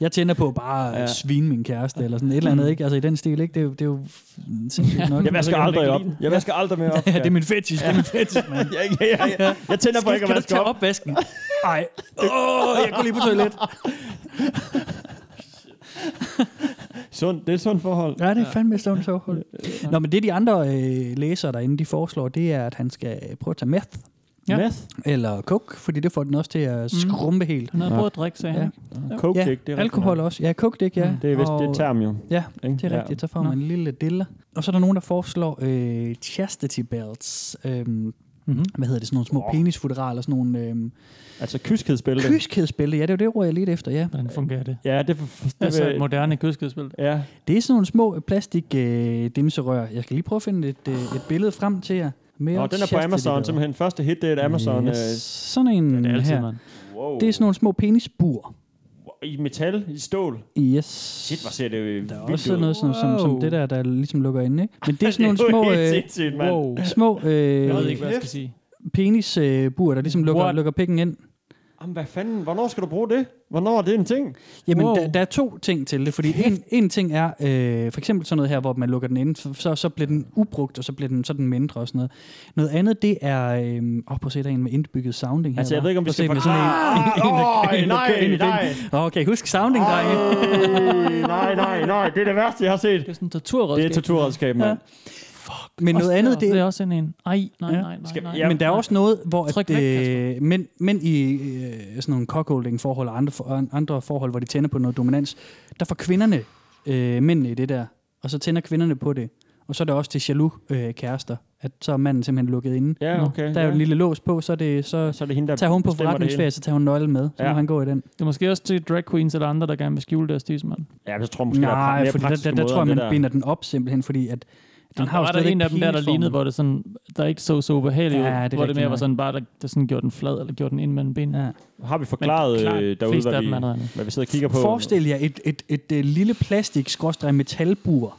S3: jeg tænder på bare at
S4: Ja. Mm.
S3: svine min kæreste, eller sådan et eller andet, ikke? Altså i den stil, ikke? Det er jo, det er jo f- sindssygt nok. Altså,
S4: Jeg vasker aldrig op. Jeg vasker
S3: Ja.
S4: aldrig mere op.
S3: Ja, det er min fetish, det er min fetish, mand.
S4: ja, ja, ja, ja. Jeg tænder på
S3: Skat,
S4: ikke
S3: kan
S4: at
S3: du
S4: vaske
S3: tage
S4: op.
S3: opvasken? Ej. Åh, jeg går lige på toilet.
S4: Sund, det er et sundt forhold.
S3: Ja, det er fandme et sundt
S4: Øh,
S3: forhold. Nå, men det de andre øh, læsere derinde, de foreslår, det er, at han skal øh, prøve at tage meth.
S5: Ja. Meth?
S3: Eller coke, fordi det får den også til at skrumpe helt.
S5: Han havde prøvet at drikke, sagde han.
S3: Ja.
S5: Ja.
S4: Coke,
S3: ja.
S4: det er rigtigt
S3: Alkohol
S4: nok. Mm.
S3: også. Ja, coke dick, ja.
S4: Det er vist det term jo.
S3: Ja,
S4: Ikke?
S3: det er rigtigt. Så får man en lille diller. Og så er der nogen, der foreslår øh, chastity belts. Øhm,
S4: Mhm.
S3: Hvad hedder det? Sådan nogle små
S4: Åh.
S3: oh. penisfoderaler. Sådan nogle... Øhm,
S4: Altså kyskhedsbælte.
S3: Kyskhedsbælte, ja, det er jo det ord, jeg lidt efter, ja.
S5: Hvordan fungerer det?
S4: Ja, det,
S5: det altså et moderne kyskhedsspil.
S4: Ja.
S3: Det er sådan nogle små plastik øh, dimserør. Jeg skal lige prøve at finde et, øh, et billede frem til jer. Mere
S4: Og den er på Amazon, simpelthen. Første hit, det er et Amazon. øh,
S3: Yes.
S4: Yes.
S3: Sådan en det
S4: er altid,
S3: her.
S4: mand. Wow.
S3: Det er sådan nogle små penisbur.
S4: I metal, i stål.
S3: Yes.
S4: Shit, hvor ser det jo vildt
S3: Der er også sådan noget som, som, som det der, der ligesom lukker inde. Ikke? Men det er sådan
S4: Det er
S3: nogle små,
S4: jo helt
S3: øh,
S4: sindssygt, mand.
S3: små øh,
S5: Jeg ved ikke, hvad jeg skal sige.
S3: penisbur, der ligesom lukker,
S4: What?
S3: lukker pikken ind.
S4: Jamen, hvad fanden? Hvornår skal du bruge det? Hvornår er det en ting?
S3: Jamen,
S4: Wow.
S3: der, der er to ting til det, fordi en, en ting er, øh, for eksempel sådan noget her, hvor man lukker den ind, så- så, så bliver den ubrugt, og så bliver den sådan mindre og sådan noget. Noget andet, det er, øh, åh, prøv at se, der er en med indbygget sounding her.
S4: Altså, jeg ved ikke, om vi skal
S3: forklare.
S4: forklare- Ah, nej, nej.
S3: Ah, Okay, husk sounding, drenge.
S4: nej, nej, nej. Det er det værste, jeg har set. Det er
S5: sådan et torturredskab.
S4: Det er et torturredskab, mand. Ja.
S3: Men noget
S5: Også
S3: andet,
S5: der-
S3: det,
S5: det er også en en. Ej, nej, nej, nej, nej.
S3: Ja, men der er også noget, hvor
S5: Tryk
S3: at,
S5: væk,
S3: øh, mænd, mænd i øh, sådan nogle cockholding-forhold og andre, for, andre forhold, hvor de tænder på noget dominans, der får kvinderne øh, mændene i det der, og så tænder kvinderne på det. Og så er det også til jaloux øh, kærester, at så er manden simpelthen lukket inde.
S4: Ja,
S3: Nå,
S4: okay,
S3: der er jo
S4: ja.
S3: en lille lås på, så, er det, så,
S4: så er det hende, der
S3: tager hun på
S4: bestemmer det
S3: forretningsferie,
S4: hele.
S3: så tager hun nøglen med, så
S4: Ja.
S3: ja. må han gå i den.
S5: Det er måske også til drag queens eller andre, der gerne vil skjule deres tidsmand.
S4: Ja, jeg tror måske, der er pra-
S3: Nej,
S4: mere
S3: fordi der, der,
S4: praktiske
S3: der
S4: måder
S3: tror jeg,
S4: end
S3: man
S4: det der.
S3: binder den op simpelthen, fordi at den
S5: Den
S3: har
S5: har
S3: jo
S5: var der
S3: stadigvæk
S5: en af dem der, der
S3: penisformen.
S5: lignede, hvor det sådan, der ikke så så ubehageligt ud.
S3: Ja, det er
S5: hvor det
S3: rigtigt
S5: mere var
S3: nok.
S5: sådan bare, der, der sådan gjorde den flad, eller gjorde den ind mellem benene.
S4: Ja. Har vi forklaret øh, derude, hvad vi, hvad vi sidder og kigger på?
S3: Forestil jer et, et, et, et lille plastik-metalbur,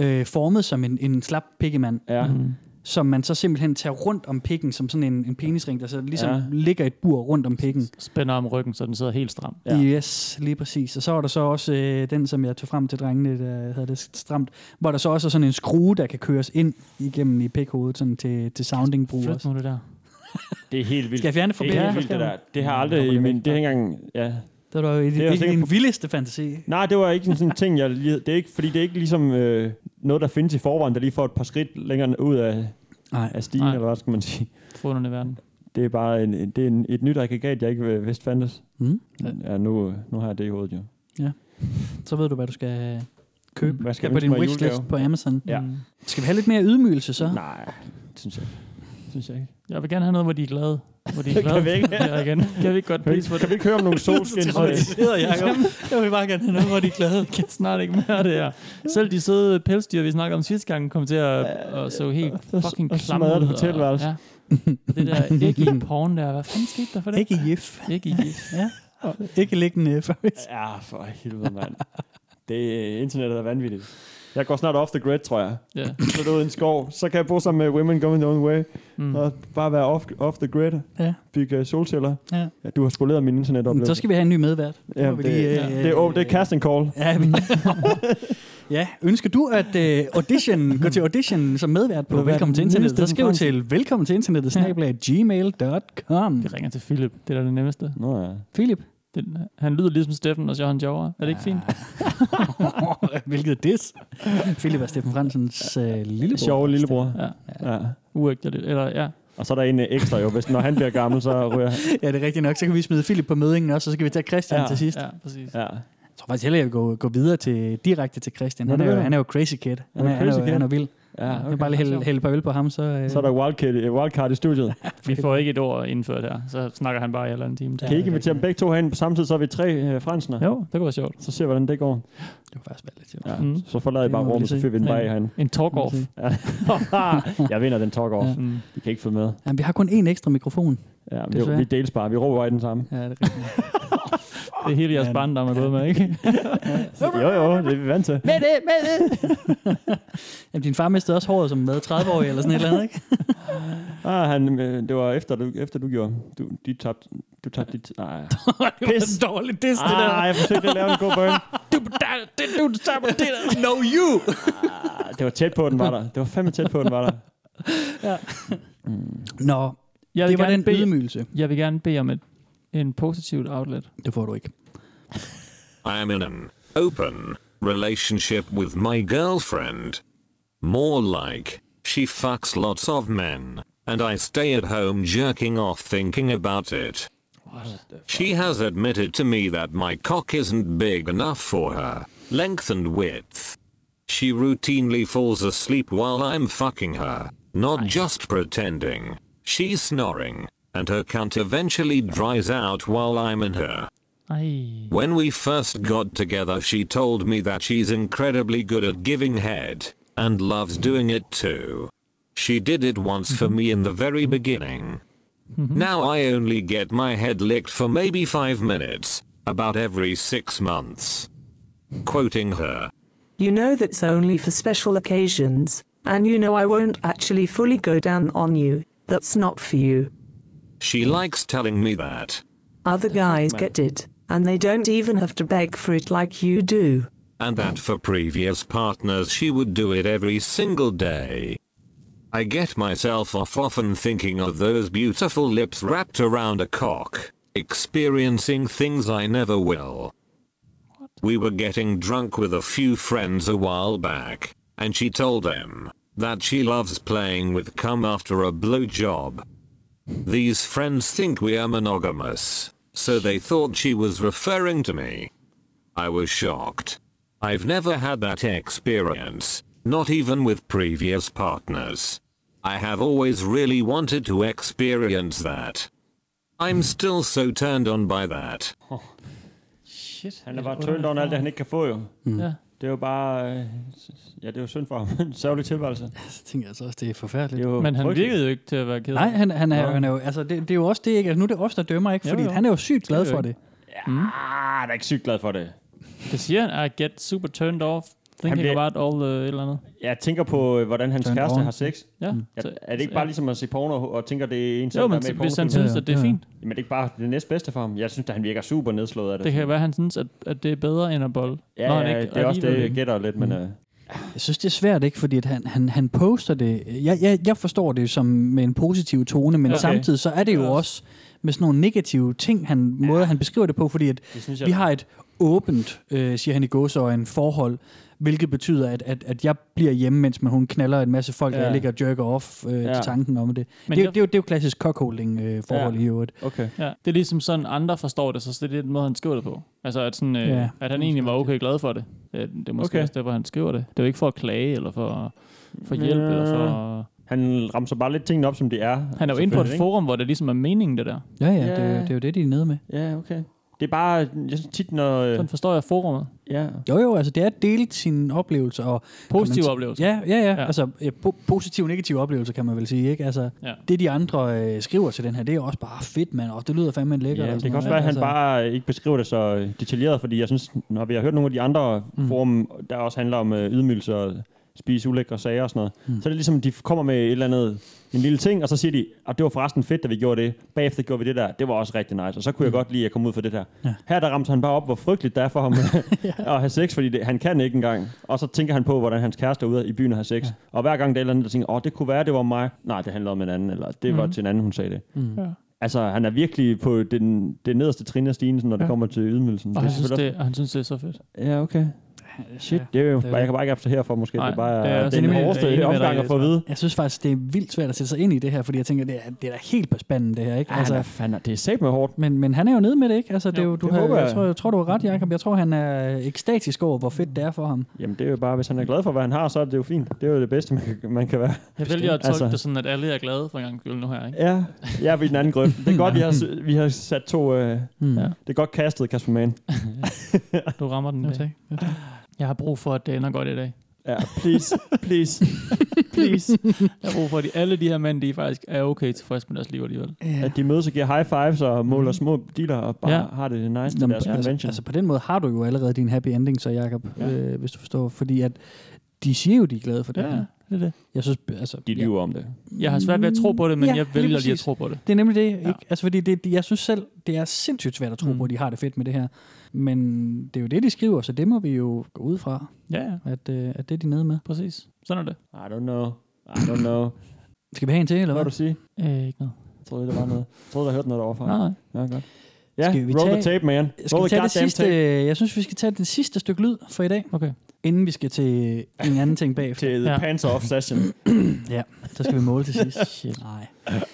S3: øh, formet som en, en slap pikkemand,
S4: ja.
S5: Mhm.
S3: som man så simpelthen tager rundt om pikken, som sådan en, en penisring, der så ligesom
S5: Ja.
S3: ja. ligger et bur rundt om pikken.
S5: Spænder om ryggen, så den sidder helt stram.
S3: Ja. Yes, lige præcis. Og så var der så også øh, den, som jeg tog frem til drengene, der havde det stramt, hvor der så også er sådan en skrue, der kan køres ind igennem i pikhovedet sådan til, til sounding-brug
S5: Flyt
S3: også.
S5: nu det der.
S4: Det er helt vildt.
S3: Skal jeg fjerne det fra
S4: Det er helt
S3: billedet?
S4: vildt, det der. Det har aldrig i min... Det har ikke engang... Ja.
S3: Det var jo
S4: Det er jo
S3: ikke
S4: sikkert
S3: din
S4: på-
S3: vildeste fantasi.
S4: Nej, det var ikke sådan en ting, jeg lige... Det er ikke, fordi det er ikke ligesom øh, noget, der findes i forvejen, der lige får et par skridt længere ud af,
S3: Nej.
S4: af stigen,
S5: Nej.
S4: eller hvad skal man sige.
S5: Forunderne i verden.
S4: Det er bare en, en- det er en, et nyt aggregat, jeg ikke øh, vidste fandtes.
S3: Mm.
S4: Ja, nu, øh, nu har jeg det i hovedet, jo.
S3: Ja. Så ved du, hvad du skal købe
S4: Hvad skal jeg
S3: på
S4: ønske
S3: din
S4: mig i
S3: wishlist
S4: julegave?
S3: på Amazon.
S4: Ja.
S3: Mm. Skal vi have lidt mere ydmygelse så?
S4: Nej, det synes jeg ikke. synes jeg ikke.
S5: Jeg vil gerne have noget, hvor de er glade. Hvor de er
S4: Kan
S5: glade.
S4: vi ikke?
S5: Ja, igen. Kan vi ikke godt
S4: Kan vi-
S5: pris for det?
S4: kan vi ikke høre om nogle solskins-
S5: traumatiseret, Jacob.
S3: Jeg vil bare gerne have noget, hvor de er glade. Jeg
S5: kan snart ikke mere det her. Selv de søde pelsdyr, vi snakkede om sidste gang, kom til at, at så helt fucking
S4: og
S5: klamme ud.
S4: smadre det
S5: og-
S4: hotelværelse.
S5: Ja. Og Det der æg i porn der, hvad fanden skete der for det?
S3: Ikke jif.
S5: Æg i gif.
S3: Ja. Ikke liggende, faktisk.
S4: Ja, for helvede, mand. Det, øh, internettet er vanvittigt. Jeg går snart off the grid, tror jeg.
S5: Ja.
S4: Flytter ud i en skov. Så kan jeg bo sammen med Women Going Their Own Way.
S5: Mm.
S4: Mm. Og bare være off, off the grid.
S3: Ja.
S4: Bygge øh, solceller.
S3: Ja.
S4: ja. Du har spoleret min internetoplevelse.
S3: Så skal vi have en ny medvært.
S4: Ja,
S3: Må vi
S4: det, lige,
S3: lige,
S4: ja.
S3: øh,
S4: det, er, åb- det er casting call.
S3: Ja, men... ja, ønsker du at øh, audition, gå til audition som medvært på
S5: Vil du være
S3: Velkommen til
S5: den
S3: Internettet,
S5: nyeste,
S3: så
S5: den
S3: skriv
S5: fremmeste?
S3: til velkommen til internettet,
S5: Ja.
S3: snabel-a gmail.com.
S5: Vi ringer til Philip, det er da det nemmeste.
S4: Nå ja.
S3: Philip,
S5: Den, han lyder ligesom Steffen og Johan Jover. Er det ikke fint?
S3: hvilket dis. Philip er Steffen Fransens øh, lillebror.
S4: Sjove lillebror.
S5: Ja.
S4: ja.
S5: Uægterligt. Eller ja.
S4: Og så er der en øh, ekstra jo. Hvis, når han bliver gammel, så ryger han.
S3: Ja, det er rigtigt nok. Så kan vi smide Philip på mødingen også, og så kan vi tage Christian
S4: Ja,
S3: til sidst.
S5: Ja, præcis.
S4: Ja.
S3: Jeg tror faktisk hellere, jeg vil gå, gå videre til, direkte til Christian.
S4: Nå,
S3: Han
S4: det
S3: er,
S4: vil
S3: jo,
S4: du.
S3: han er jo crazy kid. Han er, han er,
S4: crazy
S3: jo-
S4: kid.
S3: han er vild.
S4: Ja,
S3: Jeg
S4: okay.
S3: kan bare lige hælde, hælde et par øl på ham, så... Øh,
S4: Så er der wildcard, øh, wildcard i studiet.
S5: Vi får ikke et ord indført her, så snakker han bare i en eller anden time.
S4: Kan I ikke invitere dem begge to herhen? Samtidig så er vi tre øh, fransner.
S5: Jo, det kunne være sjovt.
S4: Så ser vi, hvordan det går.
S3: Det var faktisk valgt,
S4: Ja.
S5: Mm.
S4: Mm. Så forlader I bare
S3: Det må vi
S4: rummet,
S3: lige
S4: så
S3: se.
S4: fyrer vi den bare af herinde.
S5: En talk-off.
S4: Ja. jeg vinder den talk-off.
S3: Ja.
S4: Ja.
S5: Mm.
S4: I kan ikke følge med.
S3: Jamen, vi har kun én ekstra mikrofon.
S4: Ja,
S3: Desværre.
S4: vi, vi deles bare. Vi råber bare i den samme.
S3: Ja, det er rigtigt.
S5: Det er hele jeres barndom er gået med, ikke?
S4: Jo, jo, det er vi vant til.
S3: med det, med det! Jamen, din far mistede også håret som 30-årig eller sådan et eller andet, ikke?
S4: Ah, han, øh, det var efter, du, efter du gjorde. Du, de tabte, du tabte dit... Nej, ah,
S3: det var så dårligt diss, det der.
S4: ah, jeg forsøgte at lave en god burn.
S3: Du, der, det, du, der, det, der. No, you!
S4: Ah, det var tæt på, den var der. Det var fandme tæt på, den var der.
S3: Nå,
S5: Jeg
S3: det
S5: vil,
S3: var
S5: gerne
S3: den
S5: bede,
S3: ydmygelse.
S5: jeg vil gerne bede om et, en positivt outlet.
S3: Det får du ikke.
S13: I'm in an open relationship with my girlfriend. More like, she fucks lots of men, and I stay at home jerking off thinking about it. She has admitted to me that my cock isn't big enough for her, length and width. She routinely falls asleep while I'm fucking her, not just pretending. She's snoring, and her cunt eventually dries out while I'm in her.
S5: Ej.
S13: When we first got together, she told me that she's incredibly good at giving head and loves doing it too. She did it once for me in the very beginning. Now I only get my head licked for maybe five minutes, about every six months. Quoting her.
S14: You know that's only for special occasions, and you know I won't actually fully go down on you, That's not for you.
S13: She likes telling me that.
S14: Other guys get it, and they don't even have to beg for it like you do.
S13: And that for previous partners she would do it every single day. I get myself off often thinking of those beautiful lips wrapped around a cock, experiencing things I never will. We were getting drunk with a few friends a while back, and she told them that she loves playing with cum after a blowjob. These friends think we are monogamous, so they thought she was referring to me. I was shocked. I've never had that experience, not even with previous partners. I have always really wanted to experience that. I'm still so turned on by that.
S4: Shit, han er bare turned on alt det, han ikke kan få jo.
S3: Mm.
S4: Ja. Det er jo bare... øh, s- Ja, det er jo synd for ham. En Sørgelig tilværelse.
S3: Jeg tænker altså også, det er forfærdeligt.
S4: Jo,
S5: Men han
S4: frygteligt.
S5: virkede jo ikke til at være ked af
S3: Nej,
S5: det.
S3: han, han, er,
S5: Nå.
S3: han er jo, altså det, det er jo også det, ikke? Altså, nu er det os, der dømmer, ikke?
S5: Jo,
S3: Fordi
S5: jo.
S3: han er jo sygt glad
S5: Det er
S3: for
S5: jo
S3: det.
S5: ikke-
S4: Ah, han er ikke sygt glad for det.
S5: Mm. Det siger han, I get super turned off thinking
S4: bliver-
S5: about all the et eller andet.
S4: Jeg tænker på, øh, hvordan hans
S5: Turned
S4: kæreste
S5: on.
S4: har sex.
S5: Ja.
S4: Er,
S5: Så-
S4: er det ikke
S5: så-
S4: bare
S5: ja.
S4: ligesom at se porno og tænker, det er en,
S5: Jo,
S4: der er
S5: men
S4: med i
S5: hvis han
S4: pornofilmen?
S5: synes, at det er Ja, ja. fint.
S4: Jamen, det er ikke bare det næstbedste for ham. Jeg synes, at han virker super nedslået af det.
S5: Det kan være, han synes, at, at det er bedre end at bolle.
S4: Ja,
S5: Når han
S4: ja,
S5: ikke
S4: det er også det,
S5: alligevel-
S4: jeg gætter lidt, men... Øh,
S3: Jeg synes, det er svært, ikke? Fordi at han, han, han poster det. Jeg, jeg, jeg forstår det som med en positiv tone, men
S4: Okay.
S3: okay. samtidig så er det jo også med sådan nogle negative ting, han, ja. måder han beskriver det på, fordi at
S4: Det synes
S3: synes
S4: jeg,
S3: vi
S4: der-
S3: har et åbent, øh, siger han i gåseøjne, forhold, hvilket betyder, at, at, at jeg bliver hjemme, mens man, hun knaller en masse folk, ja.
S4: Ja.
S3: og jeg ligger og jerker off øh,
S4: Ja.
S3: ja. til tanken om det.
S5: Men
S3: Men det, er, jo-
S5: jeg-
S3: det, er jo, det er jo klassisk cockholding-forhold øh, forhold i øvrigt.
S4: Okay.
S5: Ja, det er ligesom sådan, andre forstår det, så det er den måde, han skriver det på. Altså, at, sådan, øh,
S3: Ja.
S5: ja. at han egentlig var okay glad for det. Øh, Det er måske
S4: Okay.
S5: okay. også der, hvor han skriver det. Det er jo ikke for at klage, eller for, for hjælp,
S4: Ja.
S5: eller for...
S4: Han ramser bare lidt tingene op, som de er.
S5: Han er jo inde på et
S4: selvfølgelig, ikke?
S5: forum, hvor det ligesom er meningen, det der.
S3: Ja, ja,
S4: Ja.
S3: Det, er jo- det er jo det, de er nede med.
S4: Ja, okay. Det er bare, jeg synes tit, når... øh,
S5: Sådan forstår jeg forummet.
S4: Ja.
S3: Jo, jo, altså det er at dele sine oplevelser. Og
S5: Positive
S3: kan man-
S5: oplevelser.
S3: Ja, ja, ja. ja. Altså ja, po- positive og negative oplevelser, kan man vel sige. Ikke? Altså,
S5: Ja.
S3: ja. Det, de andre øh, skriver til den her, det er jo også bare fedt, mand. Og det lyder fandme lækkert.
S4: Ja,
S3: og
S4: det
S3: sådan
S4: kan også
S3: noget,
S4: være, at han
S3: ikke? Altså-
S4: bare ikke beskriver det så øh, detaljeret, fordi jeg synes, når vi har hørt nogle af de andre mm. forum, der også handler om øh, ydmygelse og spise ulækre sager og sådan noget, mm. så er det ligesom, de kommer med et eller andet, en lille ting, og så siger de, at det var forresten fedt, da vi gjorde det. Bagefter gjorde vi det der. Det var også rigtig nice, og så
S3: Mm.
S4: kunne jeg godt lide at komme ud for det der. Ja. Her der ramte han bare op, hvor frygteligt det er for ham at have sex, fordi det, han kan ikke engang. Og så tænker han på, hvordan hans kæreste er ude i byen og har sex. Ja. Og hver gang der er et eller andet, der tænker, åh, det kunne være, det var mig. Nej, det handlede om en anden, eller det var
S5: Mhm.
S4: til en anden, hun sagde det.
S5: Mm. Ja.
S4: Altså, han er virkelig på den, det nederste trin af stigen, sådan, når ja. det
S5: Ja.
S4: kommer til ydmygelsen.
S5: Og han, synes,
S4: selvfølgelig
S5: det, og han synes, det er så fedt.
S4: også- Ja, okay. Shit, det er jo,
S3: det er
S4: bare, jeg
S3: det.
S4: kan bare ikke abstrahere for, måske. Nej,
S5: Nej,
S4: det er bare
S5: det er
S4: det er
S5: også
S4: den
S5: enig med- jeg er enig
S4: hårdeste
S5: med dig
S4: omgang
S5: i
S4: at
S5: det,
S4: få at
S5: tror
S4: vide.
S3: Jeg synes faktisk, det er vildt svært at sætte sig ind i det her, fordi jeg tænker, det er, det er da helt på spanden, det her. Ikke?
S4: Ja, altså, fanden, det er sat med hårdt.
S3: men, men han er jo nede med det, ikke? Altså, det er jo, du
S4: det
S3: har,
S4: håber
S3: jeg,
S4: jeg.
S3: tror, jeg tror, du har ret, Jacob. Jeg tror, han er ekstatisk over, hvor fedt det er for ham.
S4: Jamen, det er jo bare, hvis han er glad for, hvad han har, så er det jo fint. Det er jo det bedste, man kan, man kan være.
S5: Jeg vælger at tolke altså. det sådan, at alle er glade for en gang skyld nu her, ikke?
S4: Ja, jeg er ved den anden grøft. Det er godt, vi har, s- vi har sat to... Øh,
S3: Mm.
S5: Ja.
S4: Det er godt kastet, Kasper Mann.
S5: Du rammer den i dag. Jeg har brug for, at det ender godt i dag.
S4: Ja, please, please, please.
S5: Jeg har brug for, at de, alle de her mænd, de faktisk er okay tilfredse med deres liv alligevel.
S3: Ja. Mhm.
S4: At de mødes og giver high fives og måler små dealer og bare
S5: Ja.
S4: har det nice til
S3: Jamen,
S4: deres
S3: altså,
S4: convention.
S3: altså på den måde har du jo allerede din happy ending, så Jacob, ja. øh, hvis du forstår. Fordi at de siger jo, de er glade for det
S5: Ja,
S3: her.
S5: det er det.
S3: Jeg synes, altså,
S4: De lyver om det.
S5: Jeg har svært ved at tro på det, men
S3: Ja,
S5: jeg
S3: lige
S5: vælger lige at
S3: præcis.
S5: tro på det.
S3: Det er nemlig det, ikke? Altså, fordi det, det- jeg synes selv, det er sindssygt svært at tro mm. på, at de har det fedt med det her. Men det er jo det, de skriver, så det må vi jo gå ud fra,
S5: Ja, ja,
S3: at, øh, at det er de nede med.
S5: præcis. Sådan er det.
S4: I don't know. I don't know.
S3: Skal vi have en til, eller
S4: Hvad
S3: hvad?
S4: vil du sige?
S5: Øh, ikke noget.
S4: Jeg troede, der var noget. Jeg troede, der hørte noget derovre fra.
S5: Nej, nej.
S4: Ja, godt. Ja,
S3: Skal vi
S4: roll
S3: tage-
S4: the tape, man.
S3: Skal
S4: roll
S3: vi
S4: the
S3: tage det
S4: goddamn
S3: sidste,
S4: tape.
S3: jeg synes, vi skal tage det sidste stykke lyd for i dag,
S5: Okay.
S3: inden vi skal til en anden ting bagefter.
S4: Til the
S5: Ja.
S4: pants off session.
S3: ja, så skal vi måle til sidst.
S5: Shit.
S3: Nej.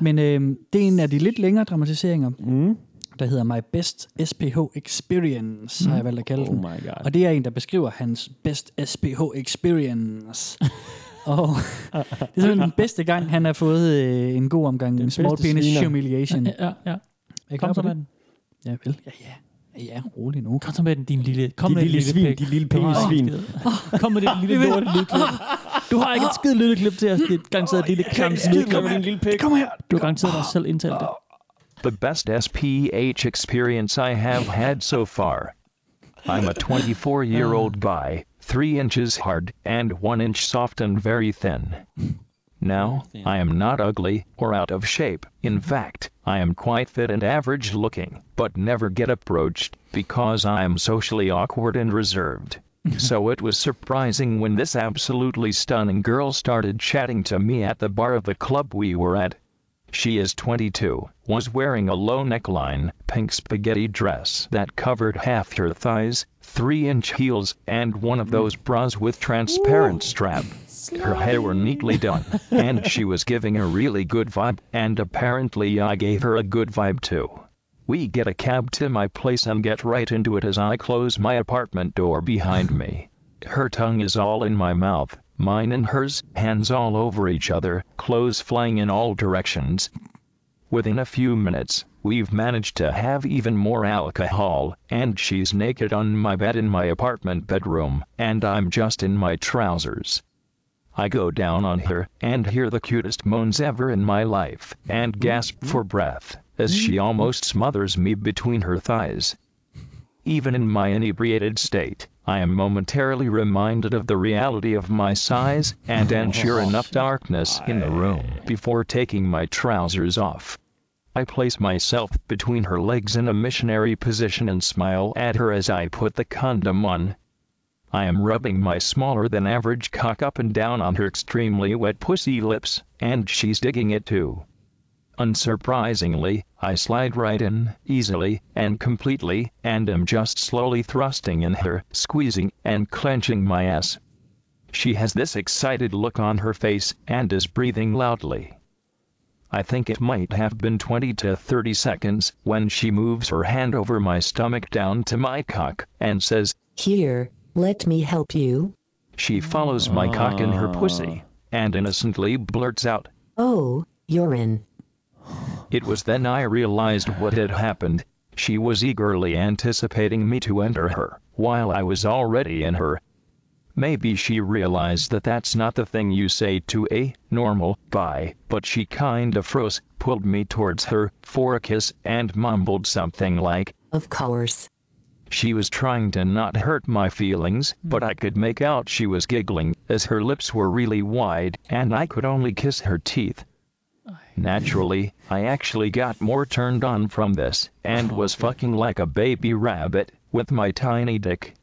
S3: Men øh, det er en af de lidt længere dramatiseringer,
S4: Mm.
S3: der hedder My Best SPH Experience, har jeg valgt at kalde
S4: Oh
S3: den.
S4: my god.
S3: Og det er en, der beskriver hans best SPH experience. og det er simpelthen den bedste gang, han har fået øh, en god omgang
S4: Den
S3: den small
S4: bedste
S3: penis
S4: sviner.
S3: humiliation. Er
S5: Ja, ja.
S3: I klar
S5: Kom så
S3: på
S5: med
S3: det?
S5: den.
S3: Ja, vel. Ja, ja. Ja, rolig nu.
S5: Kom så med den, din lille... Kom
S4: De
S5: med
S4: lille
S5: din
S4: svin,
S5: pik.
S4: de lille
S5: Du har ikke
S4: penis-svin.
S5: en skid. Åh, Kom med det lille lorte lydklip. Du har ikke et skid lydklip til os. Det er et garanteret lille klams lydklip.
S4: Kom, din lille pik.
S3: Kom her.
S5: Du har garanteret dig selv indtalt det.
S11: The best SPH experience I have had so far. I'm a 24 year old guy, 3 inches hard and 1 inch soft and very thin. Mm-hmm. Now, I am not ugly or out of shape. In fact, I am quite fit and average looking, but never get approached because I am socially awkward and reserved. so it was surprising when this absolutely stunning girl started chatting to me at the bar of the club we were at. She is 22, was wearing a low neckline, pink spaghetti dress that covered half her thighs, 3 inch heels, and one of those bras with transparent strap. Her hair were neatly done, and she was giving a really good vibe, and apparently I gave her a good vibe too. We get a cab to my place and get right into it as I close my apartment door behind me. Her tongue is all in my mouth, mine and hers, hands all over each other, clothes flying in all directions. Within a few minutes, we've managed to have even more alcohol, and she's naked on my bed in my apartment bedroom, and I'm just in my trousers. I go down on her and hear the cutest moans ever in my life and gasp for breath as she almost smothers me between her thighs. Even in my inebriated state, I am momentarily reminded of the reality of my size and then sure enough darkness in the room before taking my trousers off. I place myself between her legs in a missionary position and smile at her as I put the condom on. I am rubbing my smaller than average cock up and down on her extremely wet pussy lips, and she's digging it too. Unsurprisingly, I slide right in, easily and completely, and am just slowly thrusting in her, squeezing and clenching my ass. She has this excited look on her face and is breathing loudly. I think it might have been 20 to 30 seconds when she moves her hand over my stomach down to my cock and says,
S10: Here, let me help you.
S11: She follows my cock in her pussy and innocently blurts out,
S10: Oh, you're in.
S11: It was then I realized what had happened. She was eagerly anticipating me to enter her, while I was already in her. Maybe she realized that that's not the thing you say to a normal guy, but she kinda froze, pulled me towards her for a kiss, and mumbled something like,
S10: Of course.
S11: She was trying to not hurt my feelings, but I could make out she was giggling, as her lips were really wide, and I could only kiss her teeth. Naturally, I actually got more turned on from this, and was fucking like a baby rabbit, with my tiny dick.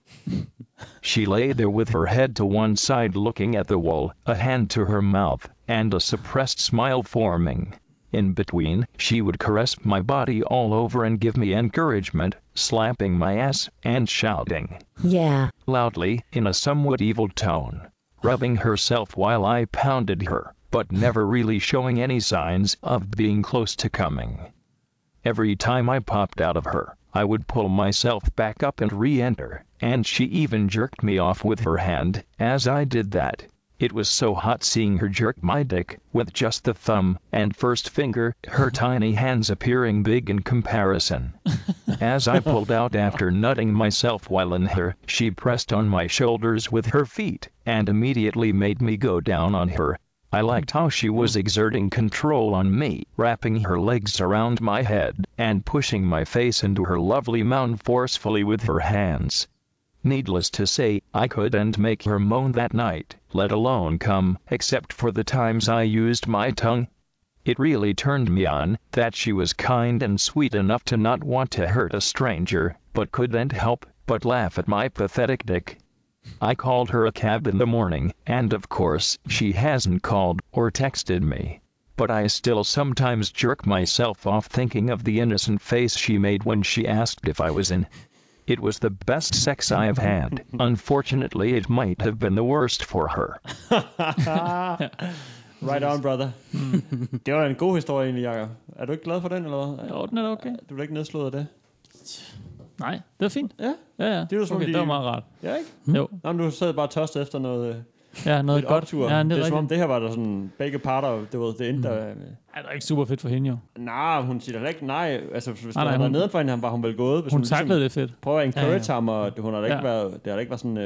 S11: She lay there with her head to one side looking at the wall, a hand to her mouth, and a suppressed smile forming. In between, she would caress my body all over and give me encouragement, slapping my ass and shouting
S10: Yeah.
S11: loudly in a somewhat evil tone, rubbing herself while I pounded her, but never really showing any signs of being close to coming. Every time I popped out of her, I would pull myself back up and re enter, and she even jerked me off with her hand as I did that. It was so hot seeing her jerk my dick with just the thumb and first finger, her tiny hands appearing big in comparison. As I pulled out after nutting myself while in her, she pressed on my shoulders with her feet and immediately made me go down on her. I liked how she was exerting control on me, wrapping her legs around my head and pushing my face into her lovely mound forcefully with her hands. Needless to say, I couldn't make her moan that night, let alone come, except for the times I used my tongue. It really turned me on that she was kind and sweet enough to not want to hurt a stranger, but couldn't help but laugh at my pathetic dick. I called her a cab in the morning, and of course, she hasn't called or texted me. But I still sometimes jerk myself off thinking of the innocent face she made when she asked if I was in. It was the best sex I have had. Unfortunately, it might have been the worst for her.
S4: right on, brother. det var da en god historie egentlig, Jacob. Er du ikke glad for den, eller hvad? Jo, den er okay. Du er da ikke nedslået af det?
S5: Nej, det var fint.
S4: Ja,
S5: ja, ja.
S4: Det var, som
S5: okay,
S4: om, de...
S5: det var meget rart.
S4: Ja, ikke?
S5: Mm. Jo.
S4: Nå, men du sad bare tørst efter noget... øh,
S5: Ja, noget
S4: lidt
S5: godt.
S4: Optur.
S5: Ja,
S4: Ja,
S5: det
S4: det,
S5: er
S4: det er som om,
S5: rigtigt.
S4: det her var der sådan begge parter, det var det endte der... øh,
S5: Ja, det er ikke super fedt for hende jo.
S4: Nej, hun siger da ikke nej. Altså, hvis
S5: Nej, nej,
S4: nej, nej, der var
S5: hun-
S4: neden for hende, han var hun vel gået. Hvis
S5: hun tacklede det fedt.
S4: Prøv at encourage
S5: Ja,
S4: ja,
S5: ja.
S4: ja. ham, og det, hun har da ikke
S5: Ja.
S4: ja. været, det har da ikke været sådan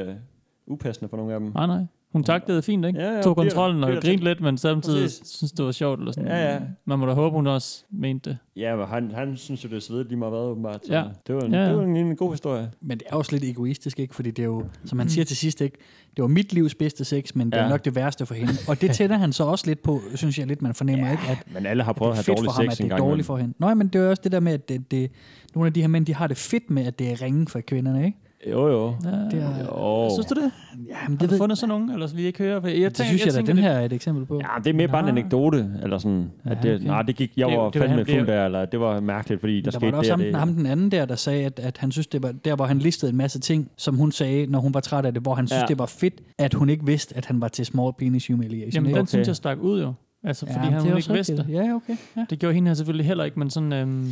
S4: uh, upassende for nogen af dem.
S5: Nej, nej. Hun taklede fint, ikke?
S4: ja,
S5: Tog
S4: bliver-
S5: kontrollen og
S4: bliver
S5: grinede
S4: til.
S5: lidt, men samtidig
S4: Præcis.
S5: synes det var sjovt. Eller sådan.
S4: Ja, ja.
S5: Man må da håbe, hun også mente det.
S4: Ja, men han, han synes jo, det er svedigt lige meget hvad, åbenbart. Så
S5: Ja.
S4: Det var en,
S5: Ja, ja.
S4: Det var en, en god historie.
S3: Men det er også lidt egoistisk, ikke? Fordi det er jo, som
S5: Mm.
S3: han siger til sidst, ikke? Det var mit livs bedste sex, men det
S4: Ja.
S3: er nok det værste for hende. Og det tænder han så også lidt på, synes jeg lidt, man fornemmer ikke, at
S4: Men alle har prøvet
S3: det
S4: at
S3: er
S4: have
S3: fedt
S4: dårlig
S3: for ham, at
S4: sex
S3: det
S4: en
S3: er
S4: gang.
S3: dårligt for hende. Nej, men det er jo også det der med, at det, det, nogle af de her mænd, de har det fedt med, at det er ringe for kvinderne, ikke?
S4: Jo, jo.
S3: Det er,
S4: jo.
S5: Synes du det?
S3: Jamen, det
S5: har du
S3: ved-
S5: fundet sådan nogen, eller vi ikke hører? For Jeg
S3: det synes jeg, da, den
S5: det-
S3: her er et eksempel på.
S4: Ja, det er mere bare en anekdote, eller sådan. At
S3: Ja,
S4: det,
S3: okay.
S4: Nej, det gik, jeg
S3: Det-
S4: var
S3: det var
S4: fandme
S3: han, det-
S4: fuld der, eller det var mærkeligt, fordi der,
S3: Der var
S4: skete
S3: der også
S4: det, og
S3: ham, ham
S4: det.
S3: den anden der, der sagde, at, at han synes, det var der, hvor han listede en masse ting, som hun sagde, når hun var træt af det, hvor han synes,
S5: Ja.
S3: det var fedt, at hun ikke vidste, at han var til small penis humiliation.
S5: Jamen,
S3: ikke?
S5: den synes jeg stak ud jo. Altså,
S3: Ja,
S5: fordi
S3: men
S5: han
S3: det er
S5: hun
S3: også
S5: ikke vidste det.
S3: rigtigt. Ja, okay. Ja.
S5: Det gjorde hende her selvfølgelig heller ikke, men sådan... Øhm,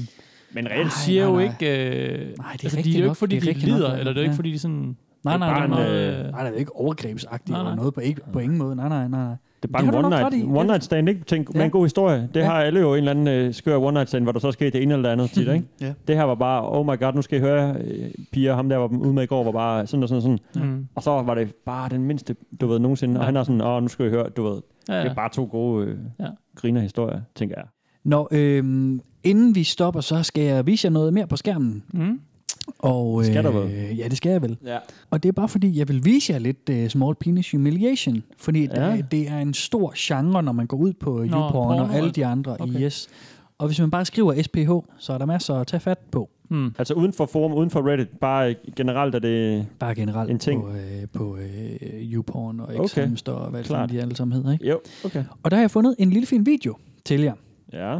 S4: men
S5: hun
S4: reelt
S5: siger
S3: nej,
S5: jo
S3: nej.
S5: ikke... Øh, nej, det
S3: er
S5: altså,
S3: rigtigt
S5: de er jo ikke,
S3: nok.
S5: fordi
S3: Det er
S5: de
S3: rigtigt nok,
S5: lider,
S3: ja.
S5: eller det er jo
S3: Ja.
S5: ikke, fordi de sådan...
S3: Nej, nej,
S5: Det
S3: nej,
S5: er øh, bare
S3: nej,
S5: en,
S3: nej, nej, det er ikke overgrebsagtigt
S5: Nej,
S3: nej,
S5: nej.
S3: nej. noget, på, ikke, på ingen måde, nej, nej, nej, nej.
S4: Det er bare en one night, one night stand, ikke? Tænk, ja. med en god historie. Det
S3: Ja.
S4: har alle jo en eller anden øh, skør one night stand, hvor der så sker det ene eller det andet tit, ikke?
S3: Mhm. Ja.
S4: Det her var bare, oh my god, nu skal I høre, øh, piger, ham der var ude med i går, var bare sådan og sådan og sådan.
S5: Mm.
S4: Og så var det bare den mindste, du ved, nogensinde. Og han er sådan, åh, oh, nu skal I høre, du ved.
S5: Ja,
S4: Ja,
S5: ja.
S4: ja. Det er bare to gode øh,
S5: Ja.
S4: ja. grinerhistorier, tænker jeg.
S3: Nå, øhm, inden vi stopper, så skal jeg vise jer noget mere på skærmen.
S5: Mm.
S3: Og,
S4: Skal du
S3: øh, ja, det skal jeg vel.
S4: Ja.
S3: Og det er bare fordi, jeg vil vise jer lidt uh, Small Penis Humiliation, fordi ja.
S4: Ja.
S3: det, det er en stor genre, når man går ud på YouPorn og
S4: porno,
S3: alle de andre okay. i Yes. Og hvis man bare skriver SPH, så er der masser at tage fat på.
S5: Mm.
S4: Altså uden for forum, uden for Reddit, bare øh, generelt er det
S3: bare generelt
S4: en ting.
S3: på, øh, på øh, YouPorn og
S4: Okay.
S3: Xhamster og hvad
S4: Klart.
S3: det de alle sammen hedder. Ikke?
S4: Jo, okay.
S3: Og der har jeg fundet en lille fin video til jer.
S4: Ja.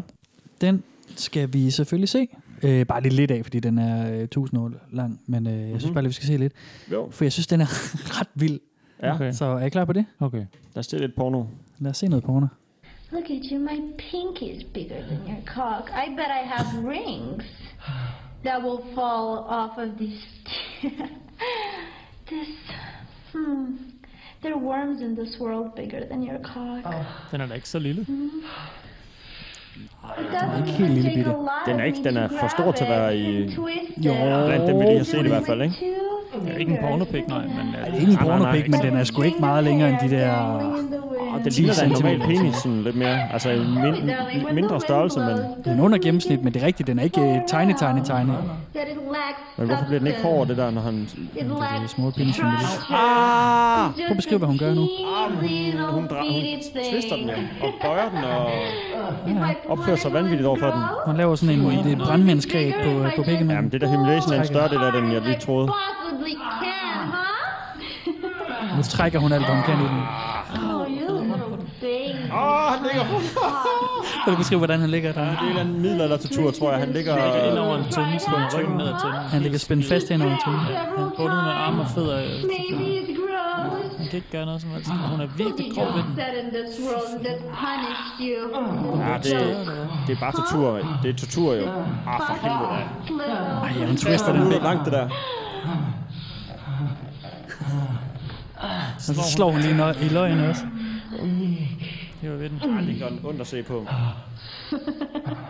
S3: Den skal vi selvfølgelig se. Øh, bare lidt lidt af, fordi den er øh, 1000 år lang, men øh, jeg synes
S4: Mhm.
S3: bare, lige, vi skal se lidt.
S4: Jo.
S3: For jeg synes, den er ret vild.
S4: Ja. Okay.
S3: Så er I klar på det?
S5: Okay.
S4: Der er still lidt porno.
S3: Lad os se noget porno.
S15: Look at you, my pinky's bigger than your cock. I bet I have rings that will fall off of these. this. Hmm. There are worms in this world bigger than your cock.
S5: Den er da ikke så lille.
S15: It doesn't
S4: ikke
S15: even
S4: helt lille
S15: take a
S4: bitte.
S15: lot
S4: Den er
S15: uh, of uh, me to
S4: ikke- den er for
S15: grab
S4: stor til at
S15: it
S4: være i-
S15: and twist
S3: Jo.
S15: it.
S4: Blandt dem, vi lige har set i hvert fald, ikke?
S5: Det er ikke en pornopik, nej. Men,
S3: Det er ikke en
S4: Nej, nej, nej,
S3: pornopik, men
S4: ikke.
S3: den er sgu ikke meget længere end de der...
S4: Og
S3: Oh,
S4: det ligner da en normal penis sådan lidt mere. Altså en min, min- mindre størrelse, men,
S3: Den er under gennemsnit, men det er rigtigt, den er ikke øh, tiny, tiny, tiny.
S15: That it lacks
S4: men hvorfor bliver den ikke
S15: substance.
S4: hård, det der, når han...
S15: It lacks
S3: Small penis humiliation.
S4: Ah!
S3: Prøv at beskrive, hvad hun gør nu.
S15: Ah,
S4: Hun, dra- hun twister den jo, og bøjer den, og
S15: Ah.
S4: opfører sig vanvittigt overfor den.
S3: Hun laver sådan en det er brandmandsgreb på, øh, på pikken.
S4: Jamen, det der humiliation er en større del af den, jeg lige troede.
S15: Possibly can, huh?
S3: Nu trækker hun alt, hvad hun kan i den.
S15: Oh, you little thing.
S4: Åh, han ligger på
S3: Prøv at beskrive, hvordan han ligger der.
S4: Det er en eller anden middelaldertortur, tror jeg. Han ligger...
S5: Ind over en tynde, så hun ryggen ned ad tynden.
S3: Han ligger spændt fast hen over en tunge.
S5: Bundet med arme og fødder. øh,
S15: Maybe it's gross.
S5: Hun kan ikke gøre noget som helst. Hun er virkelig grov ved
S15: You're
S5: den.
S15: set in this world that punished you.
S4: Ja, det, det er bare tortur. Det er tortur, jo. Ah, for helvede da.
S3: Ej, ja, hun twister den.
S4: Det er langt, det der.
S3: Og så slår hun lige nø- i løgene også.
S5: Det var ved den.
S4: Ah, det gør den ondt at se på.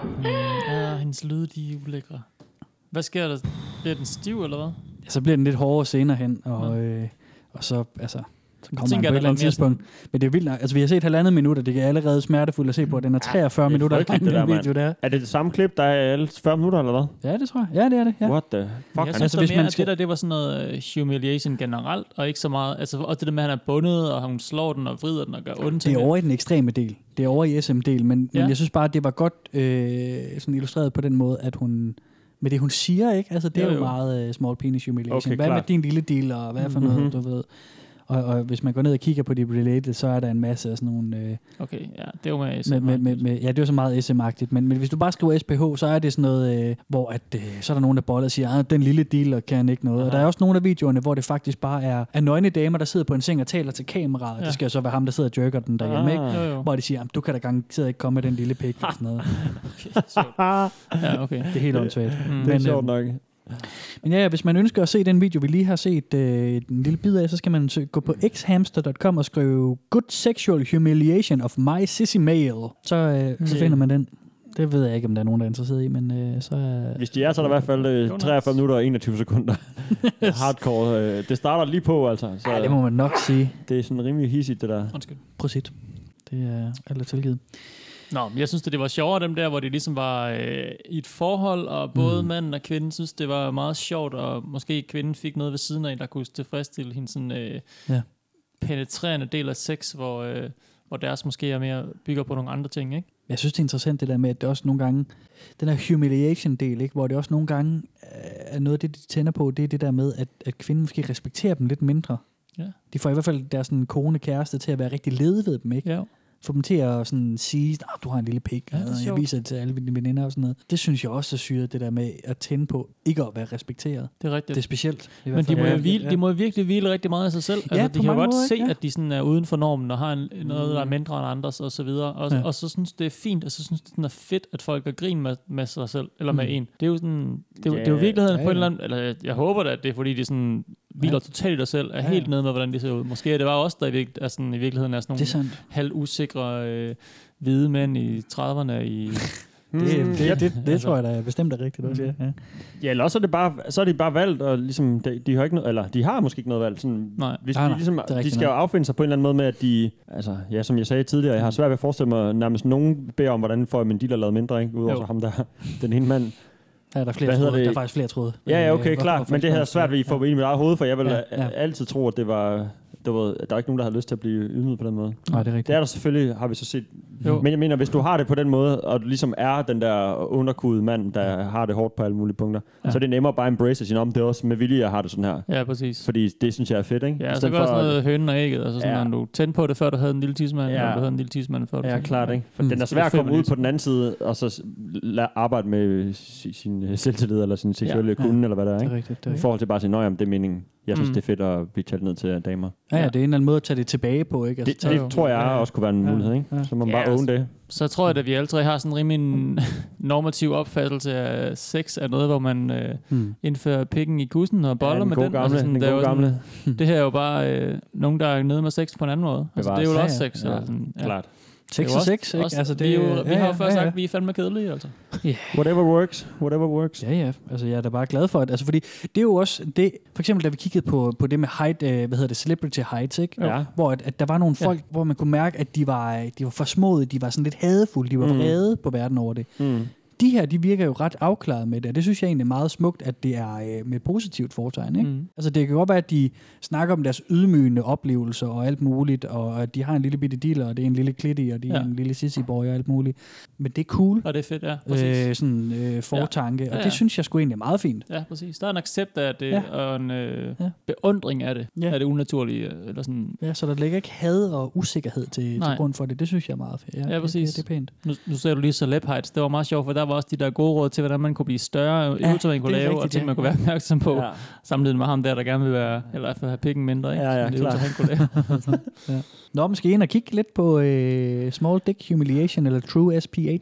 S5: Mm, Ja, hendes lyde, de er ulækre. Hvad sker der? Bliver den stiv, eller hvad?
S3: Ja, så bliver den lidt hårdere senere hen, og, øh, og så, altså, så kommer han
S5: tænker
S3: på et
S5: jeg, der
S3: eller andet
S5: bliver mere
S3: tidspunkt. Men det er vildt nok. Altså, vi har set halvandet minut, og det er allerede smertefuldt at se på. at Den er 43 ja,
S4: Det er
S3: minutter,
S4: frygteligt, det der,
S3: den
S4: mand.
S3: video der.
S4: Er det det samme klip, der er alle 40 minutter, eller hvad?
S3: Ja, det tror jeg. Ja, det er det. Ja.
S4: What the
S5: Men
S4: fuck?
S5: jeg
S4: han-
S5: synes altså, hvis mere, man skal... at det der, det var sådan noget øh, humiliation generelt, og ikke så meget, altså også det der med, at han er bundet, og hun slår den og vrider den og gør ondt
S3: Det
S5: ting.
S3: er over i den ekstreme del. Det er over i SM-del, men, ja.
S5: Ja.
S3: men jeg synes bare, at det var godt øh, sådan illustreret på den måde, at hun med det, hun siger, ikke? Altså, det
S5: Jo,
S3: er jo
S5: jo.
S3: meget uh, small penis humiliation.
S5: Okay,
S3: Okay, hvad med
S5: klart.
S3: din lille deal, og hvad for noget,
S5: Mhm.
S3: du ved? Og, og hvis man går ned og kigger på de related, så er der en masse af sådan nogle... Øh,
S5: Okay, ja, det var med,
S3: med, med, med, med, ja, det er jo så meget SM-agtigt, men, men hvis du bare skriver SPH, så er det sådan noget, øh, hvor at, øh, så er der nogen, der boller og siger, "Ah, den lille dealer kan ikke noget. Og der er også nogle af videoerne, hvor det faktisk bare er, er nøgne damer, der sidder på en seng og taler til kameraet. Ja.
S5: Ja.
S3: Det skal jo så være ham, der sidder og jerker den derhjemme,
S5: Ah.
S3: ikke?
S5: Jo, jo.
S3: Hvor de siger, "Jamen, du kan da garanteret ikke komme med den lille pik og sådan noget.
S5: ja, okay.
S3: Det er helt åndssvagt.
S5: Mm.
S4: Det er
S3: Men,
S4: sjovt nok.
S3: Men ja, ja, hvis man ønsker at se den video, vi lige har set øh, en lille bid af, så skal man sø- gå på xhamster.com og skrive Good Sexual Humiliation of My Sissy Mail. Så, øh, så
S5: Mm.
S3: finder man den. Det ved jeg ikke, om der er nogen, der er interesseret i, men øh, så er...
S4: Hvis de er, så er der i hvert fald øh, 43 minutter og 21 sekunder. Hardcore. øh, Det starter lige på, altså. Så
S3: Ja, det må man nok sige.
S4: Det er sådan rimelig hissigt, det der.
S5: Undskyld.
S3: Prosit. Det er alt er tilgivet.
S5: Nå, men jeg synes, at det var sjovere, dem der, hvor de ligesom var øh, i et forhold, og både mm. manden og kvinden synes, det var meget sjovt, og måske kvinden fik noget ved siden af, der kunne tilfredsstille hendes sådan, øh,
S3: Ja.
S5: penetrerende del af sex, hvor, øh, hvor deres måske er mere bygger på nogle andre ting, ikke?
S3: Jeg synes, det er interessant det der med, at det også nogle gange, den her humiliation-del, ikke, hvor det også nogle gange øh, er noget af det, de tænder på, det er det der med, at, at kvinden måske respekterer dem lidt mindre.
S5: Ja.
S3: De får i hvert fald deres sådan, kone kæreste til at være rigtig lede ved dem, ikke?
S5: Ja.
S3: Få dem til at sådan, sige, at du har en lille pik, ja,
S5: det er
S3: og jeg
S5: sjovt.
S3: viser det til alle mine veninder og sådan noget. Det synes jeg også er syret, det der med at tænde på ikke at være respekteret.
S5: Det er rigtigt.
S3: Det er specielt. i
S5: Men
S3: hvert
S5: de
S3: fald.
S5: må, jo hvile, de må jo virkelig hvile rigtig meget af sig selv.
S3: Ja,
S5: Ja, altså,
S3: på
S5: de kan jo
S3: mange
S5: godt
S3: måder,
S5: se,
S3: ikke? Ja.
S5: at de sådan er uden for normen og har en, noget, der er
S3: Mm.
S5: mindre end andres og så videre. Og,
S3: Ja.
S5: ja. og så synes det er fint, og så synes det sådan er fedt, at folk er grin med, med sig selv, eller med
S3: Mm.
S5: en. Det er jo sådan, det, er jo-
S3: Ja,
S5: det er jo virkeligheden
S3: ja,
S5: ja, på en
S3: ja.
S5: eller anden, eller jeg, jeg håber da, at det er fordi, de sådan hviler
S3: Ja.
S5: ja. totalt i dig selv, er
S3: Ja,
S5: ja,
S3: ja.
S5: helt nede med, hvordan det ser ud. Måske er det bare os, der i, virk, er sådan, i virkeligheden er
S3: Det er
S5: sådan nogle
S3: sandt.
S5: halvusikre øh, hvide mænd i 30'erne i...
S3: Det,
S4: Mm.
S3: det, det, det, det
S5: Altså, Mm.
S3: tror jeg da bestemt er rigtigt også, ja. ja.
S4: Ja, eller også er det bare, så er de bare valgt, og ligesom, de, de har ikke noget, eller de har måske ikke noget valg. Sådan,
S5: Nej.
S4: hvis
S3: Nej,
S4: de,
S3: nej,
S4: ligesom,
S3: det er
S4: de
S3: rigtigt
S4: skal jo
S3: nok.
S4: affinde sig på en eller anden måde med, at de, altså, ja, som jeg sagde tidligere, jeg har svært ved at forestille mig, nærmest nogen beder om, hvordan får man de, der lavet mindre, ikke? Udover
S3: Jo.
S4: så ham der, den ene mand.
S3: Ja, der er flere
S4: Hvad hedder
S3: tråde.
S4: det?
S3: Der er faktisk flere tråde.
S4: Ja, ja,
S3: Øh,
S4: okay,
S3: hvor-
S4: klart.
S3: hvorfor
S4: Men det
S3: ikke
S4: havde
S3: man-
S4: jeg svært ved at få ja. i mit eget hoved, for jeg vil
S3: Ja,
S4: ja,
S3: ja.
S4: ja. altid tro, at det var, det var, der er ikke nogen, der har lyst til at blive ydmyget på den måde.
S3: Nej, det er rigtigt.
S4: Det er der selvfølgelig, har vi så set.
S5: Jo.
S4: Jo. Men jeg mener, hvis du har det på den måde, og du ligesom er den der underkudede mand, der har det hårdt på alle mulige punkter,
S5: Ja.
S4: ja. så er det nemmere at bare embrace og sige, "Nå, men det er også med vilje, jeg har det sådan her.
S5: Ja, præcis.
S4: Fordi det synes jeg er fedt, ikke?
S5: Ja,
S4: I
S5: så
S4: stedet
S5: gør
S4: for
S5: sådan
S4: at-
S5: noget hønen og ægget, altså sådan,
S4: Ja.
S5: ja. du tændte på det, før du havde en lille tidsmand, ja.
S4: Ja.
S5: eller du havde en lille tidsmand før du
S4: Ja,
S5: tændte-
S4: klart, ikke? For
S5: Mm.
S4: den er
S5: Så
S4: svær at
S5: det
S4: komme ud
S5: feminisme.
S4: på den anden side, og så s- la- arbejde med si- sin øh, selvtillid, eller sin seksuelle
S3: Ja.
S4: ja. kunde,
S3: Ja.
S4: eller hvad der er,
S3: Det er
S4: ikke?
S3: rigtigt, det er
S4: I forhold til bare at sige, "Nå, jamen, det er meningen. Jeg synes,
S3: Mm.
S4: mm. det er fedt at blive talt ned til af damer.
S3: Ja, ja, det er en eller anden måde at tage det tilbage på, ikke? Altså,
S4: Det,
S3: tage
S4: det tror jeg også kunne være en
S3: Ja.
S4: mulighed, ikke? Så må man bare
S5: altså-
S4: own det.
S5: Så tror jeg, at vi alle tre har sådan en rimelig en normativ opfattelse af sex er noget, hvor man øh,
S3: Mm.
S5: indfører pikken i kussen og boller
S4: Hmm. den
S5: med
S4: gode
S5: den.
S4: gamle, den
S5: det, er jo
S4: gode
S5: sådan, det her er jo bare øh, nogen, der er nede med sex på en anden måde. Altså, det er jo
S4: Bevares.
S5: også
S4: Ja, ja.
S5: sex. eller
S4: Ja,
S3: Mm,
S5: sådan,
S4: klart.
S5: Det er
S3: Sex
S5: jo
S3: er
S5: også-
S3: sex, ikke?
S5: også-
S3: Altså,
S5: vi,
S3: det-
S5: er jo, vi
S3: ja,
S5: har
S3: ja,
S5: jo før
S3: ja,
S5: sagt,
S3: ja.
S5: vi er fandme kedelige, altså.
S4: Whatever works, whatever works.
S3: Ja, ja. Altså, jeg er da bare glad for, at, altså, fordi det er jo også det, for eksempel da vi kiggede på, på det med height, øh, hvad hedder det, celebrity heights, ikke?
S4: Ja.
S3: Hvor at, at, der var nogle
S4: Ja.
S3: folk, hvor man kunne mærke, at de var, øh, de var forsmået, de var sådan lidt hadefulde, de var
S4: Mm.
S3: vrede på verden over det.
S4: Mm.
S3: De her, de virker jo ret afklaret med det, og det synes jeg egentlig er meget smukt, at det er øh, med et positivt foretegn. Ikke?
S5: Mm.
S3: Altså det kan godt være, at de snakker om deres ydmygende oplevelser og alt muligt, og at de har en lille bitte dealer, og det er en lille klitti, og det er ja.
S5: Ja.
S3: en lille sissy-boy og alt muligt. Men det er cool,
S5: Og det er fedt, ja. Præcis.
S3: øh, sådan øh, fortanke, ja.
S5: Ja,
S3: og
S5: ja.
S3: det synes jeg sgu egentlig er meget fint.
S5: Ja, præcis. Der er en accept af det,
S3: Ja.
S5: ja. og en øh,
S3: Ja.
S5: ja. beundring af det,
S3: Ja.
S5: ja. af det unaturlige, øh, eller sådan
S3: Ja, så der ligger ikke had og usikkerhed til, til
S5: Nej.
S3: grund for det. Det synes jeg er meget fedt.
S5: Ja,
S3: det-
S5: præcis.
S3: Det, det er pænt.
S5: Nu, nu sagde du lige celeb heights. Det var meget sjovt, for der var også de der gode råd til, hvordan man kunne blive større,
S3: Ja,
S5: ja, øvelser man kunne
S3: det er
S5: lave,
S3: rigtigt,
S5: og ting,
S3: ja.
S5: man kunne være opmærksom på,
S3: Ja.
S5: ja. samtidig med ham der, der gerne vil være, eller i hvert fald have pikken mindre, ikke?
S4: Ja, ja,
S5: Sådan de
S4: klart.
S5: øvelser, han kunne lave.
S3: Ja. Nå, måske ind og kigge lidt på øh, Small Dick Humiliation eller True SPH
S4: Jeg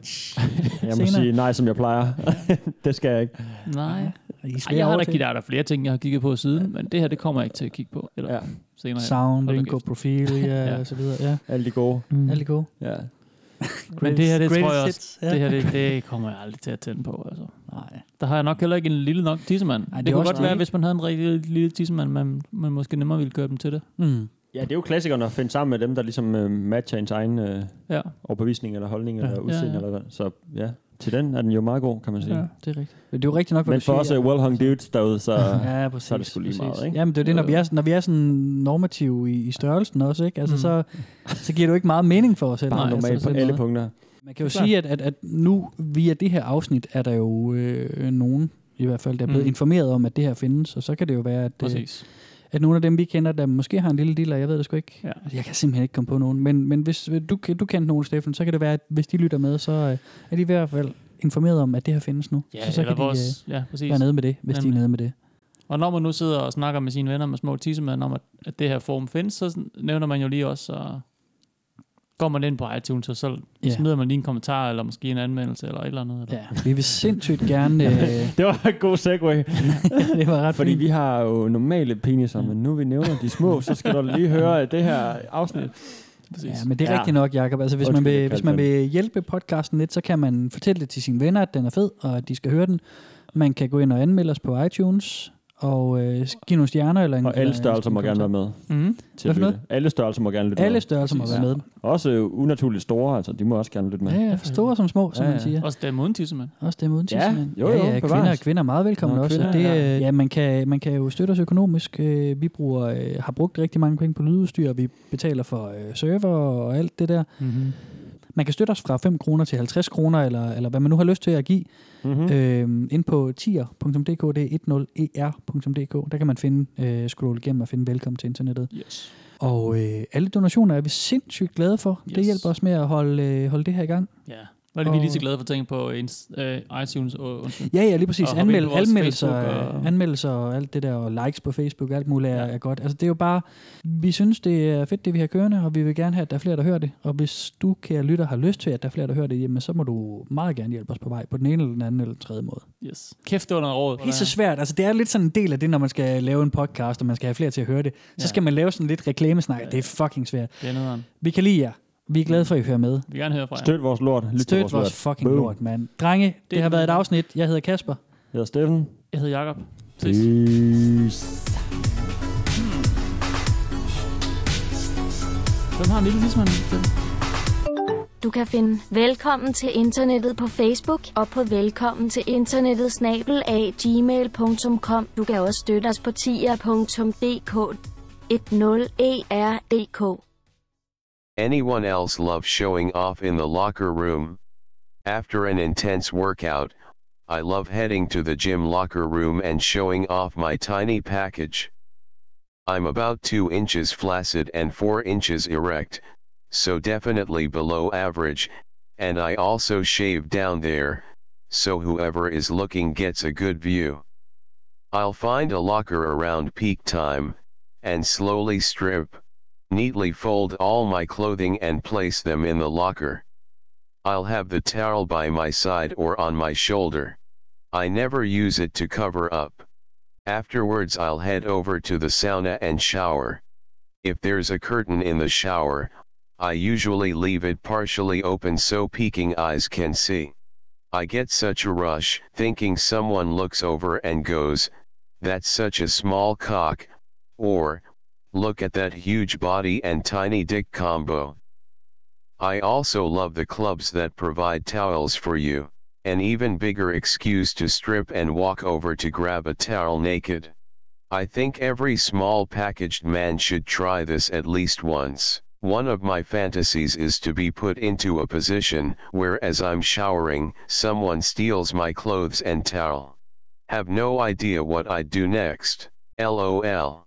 S4: må sige nej, som jeg plejer. det skal jeg ikke.
S5: Nej.
S3: svære
S5: Ej, jeg har da
S3: overtag.
S5: kigget, der er der flere ting, jeg har kigget på siden, men det her, det kommer jeg ikke til at kigge på. Eller ja. senere. hen.
S3: Sound,
S5: Hold da
S3: Inco
S5: kæft.
S3: Profilia ja. og så videre. Ja.
S4: Alle de gode.
S5: Mm.
S3: Alle de gode.
S4: Ja.
S5: Men det her, det
S3: Greatest
S5: tror jeg
S3: hits,
S5: også,
S3: ja.
S5: det her, det, det kommer jeg aldrig til at tænde på, altså.
S4: Mm.
S3: Nej.
S5: Der har jeg nok heller ikke en lille nok tissemand.
S3: er
S5: det, det kunne
S3: også
S5: godt
S3: det.
S5: være, hvis man havde en rigtig lille tissemand, man, man måske nemmere ville køre dem til det.
S3: Mm.
S4: Ja, det er jo klassikerne at finde sammen med dem, der ligesom øh, matcher ens egen øh,
S5: Ja.
S4: overbevisning eller holdning eller
S3: Ja.
S4: udseende.
S3: Ja, ja.
S4: Eller hvad. Så ja, til den er den jo meget god, kan man sige.
S3: Ja, det er rigtigt. Det er jo rigtigt nok, hvad
S4: Men
S3: du
S4: for os
S3: siger. Altså.
S4: er well-hung dudes derude, så,
S3: ja, præcis,
S4: så er det sgu lige meget, ikke?
S3: Jamen, det er jo det, når vi er, når vi er sådan normative i, i størrelsen også, ikke? Altså, mm. så, så giver det jo ikke meget mening for os. heller.
S4: Bare normalt
S3: altså,
S4: på
S3: den
S4: alle
S3: måde.
S4: punkter.
S3: Man kan jo sige, at, at, at nu via det her afsnit er der jo øh, nogen, i hvert fald, der er blevet mm.
S5: Mm.
S3: informeret om, at det her findes, og så kan det jo være, at, øh,
S5: Præcis.
S3: at nogle af dem, vi kender, der måske har en lille dealer, jeg ved det sgu ikke. Ja. Jeg kan simpelthen ikke komme på nogen, men, men hvis øh, du, kan- du kender nogen, Steffen, så kan det være, at hvis de lytter med, så øh, er de i hvert fald informeret om, at det her findes nu.
S5: Ja,
S3: så, så
S5: eller
S3: kan
S5: vores-
S3: de øh,
S5: ja, præcis.
S3: være nede med det, hvis Jamen. de er
S5: Nemlig.
S3: nede med det.
S5: Og når man nu sidder og snakker med sine venner med små tissemænd om, at, at det her forum findes, så sådan- nævner man jo lige også, og går man ind på iTunes, og så
S3: Ja.
S5: yeah. smider man lige en kommentar, eller måske en anmeldelse, eller et eller andet. Eller?
S3: Vi vil sindssygt gerne... Øh,
S4: Det var en god segue.
S3: det var ret
S4: Fordi vi har jo normale peniser, men nu vi nævner de små, så skal du lige høre at det her øh, afsnit.
S3: Ja, men det er ja. rigtigt nok, Jacob. Altså, hvis, man
S4: Undskyld,
S3: vil,
S4: jeg
S3: hvis
S4: kaldte
S3: man
S4: den.
S3: vil hjælpe podcasten lidt, så kan man fortælle det til sine venner, at den er fed, og at de skal høre den. Man kan gå ind og anmelde os på iTunes, og øh, give nogle stjerner. Eller en,
S4: Og alle
S3: eller en
S4: størrelser må
S3: kommentar.
S4: gerne være med.
S3: Mhm.
S4: Til
S3: Hvad
S4: at
S3: for noget?
S4: lytte. Alle størrelser må gerne lytte med.
S3: Alle størrelser må
S4: Præcis.
S3: være med.
S4: Også øh, unaturligt store, altså de må også gerne lytte med.
S3: Ja, ja, for store som små, som
S4: Ja,
S3: man
S4: ja.
S3: siger.
S5: Også dem uden tissemand.
S3: Også dem uden
S5: Ja,
S3: tidsmand.
S5: jo, jo,
S3: ja, ja, kvinder og
S5: bevares.
S3: kvinder er meget velkommen
S5: Nå,
S3: også.
S5: kvinder,
S3: og det,
S5: ja.
S3: øh, ja, man kan, man kan jo støtte os økonomisk. Øh, Vi bruger, øh, har brugt rigtig mange penge på lydudstyr, og vi betaler for øh, server og alt det der.
S5: Mhm.
S3: Man kan støtte os fra 5 kroner til 50 kroner, eller, eller hvad man nu har lyst til at give,
S4: Mhm.
S3: øh, ind på tier.dk, det er E 10er.dk. Der kan man finde, øh, scrolle igennem og finde velkommen til internettet.
S5: Yes.
S3: Og øh, alle donationer er vi sindssygt glade for. Yes. Det hjælper os med at holde, øh, holde det her i gang.
S5: Ja. Var det, vi er lige så glade for at tænke på ens, øh, iTunes? Og, undskyld.
S3: Ja, ja, lige præcis.
S5: Og hoppe ind
S3: Anmeld,
S5: på vores
S3: anmeldelser, øh,
S5: Facebook
S3: og... anmeldelser og alt det der, og likes på Facebook og alt muligt er, ja. er godt. Altså, det er jo bare, vi synes, det er fedt, det vi har kørende, og vi vil gerne have, at der er flere, der hører det. Og hvis du, kære lytter, har lyst til, at der er flere, der hører det, jamen, så må du meget gerne hjælpe os på vej, på den ene eller den anden eller den tredje måde.
S5: Yes. Kæft, det var noget råd.
S3: Det er så svært. Altså, det er lidt sådan en del af det, når man skal lave en podcast, og man skal have flere til at høre det. Så
S5: Ja.
S3: ja. skal man lave sådan lidt reklamesnak. Det er fucking svært.
S5: Det er nederen. Mm.
S3: Vi kan lide jer. Vi er glade for, at I hører med.
S5: Vi vil gerne høre fra jer.
S4: Støt vores lort. Lyt til
S3: Støt
S4: vores
S3: vores,
S4: lort.
S3: vores fucking
S4: Boom.
S3: lort, mand. Drenge, det, det har været et afsnit. Jeg hedder Kasper.
S4: Jeg hedder Steffen.
S5: Jeg hedder Jakob.
S4: Peace.
S5: Hvem har en lille tidsmand?
S2: Du kan finde Velkommen til Internettet på Facebook og på velkommen til internettet snabel af gmail.com. Du kan også støtte os på tier.dk E 10er.dk.
S16: Anyone else love showing off in the locker room? After an intense workout, I love heading to the gym locker room and showing off my tiny package. I'm about 2 inches flaccid and 4 inches erect, so definitely below average, and I also shave down there, so whoever is looking gets a good view. I'll find a locker around peak time, and slowly strip, neatly fold all my clothing and place them in the locker. I'll have the towel by my side or on my shoulder. I never use it to cover up. Afterwards I'll head over to the sauna and shower. If there's a curtain in the shower, I usually leave it partially open so peeking eyes can see. I get such a rush thinking someone looks over and goes, that's such a small cock, or, look at that huge body and tiny dick combo. I also love the clubs that provide towels for you, an even bigger excuse to strip and walk over to grab a towel naked. I think every small packaged man should try this at least once. One of my fantasies is to be put into a position where as I'm showering, someone steals my clothes and towel. Have no idea what I'd do next. LOL.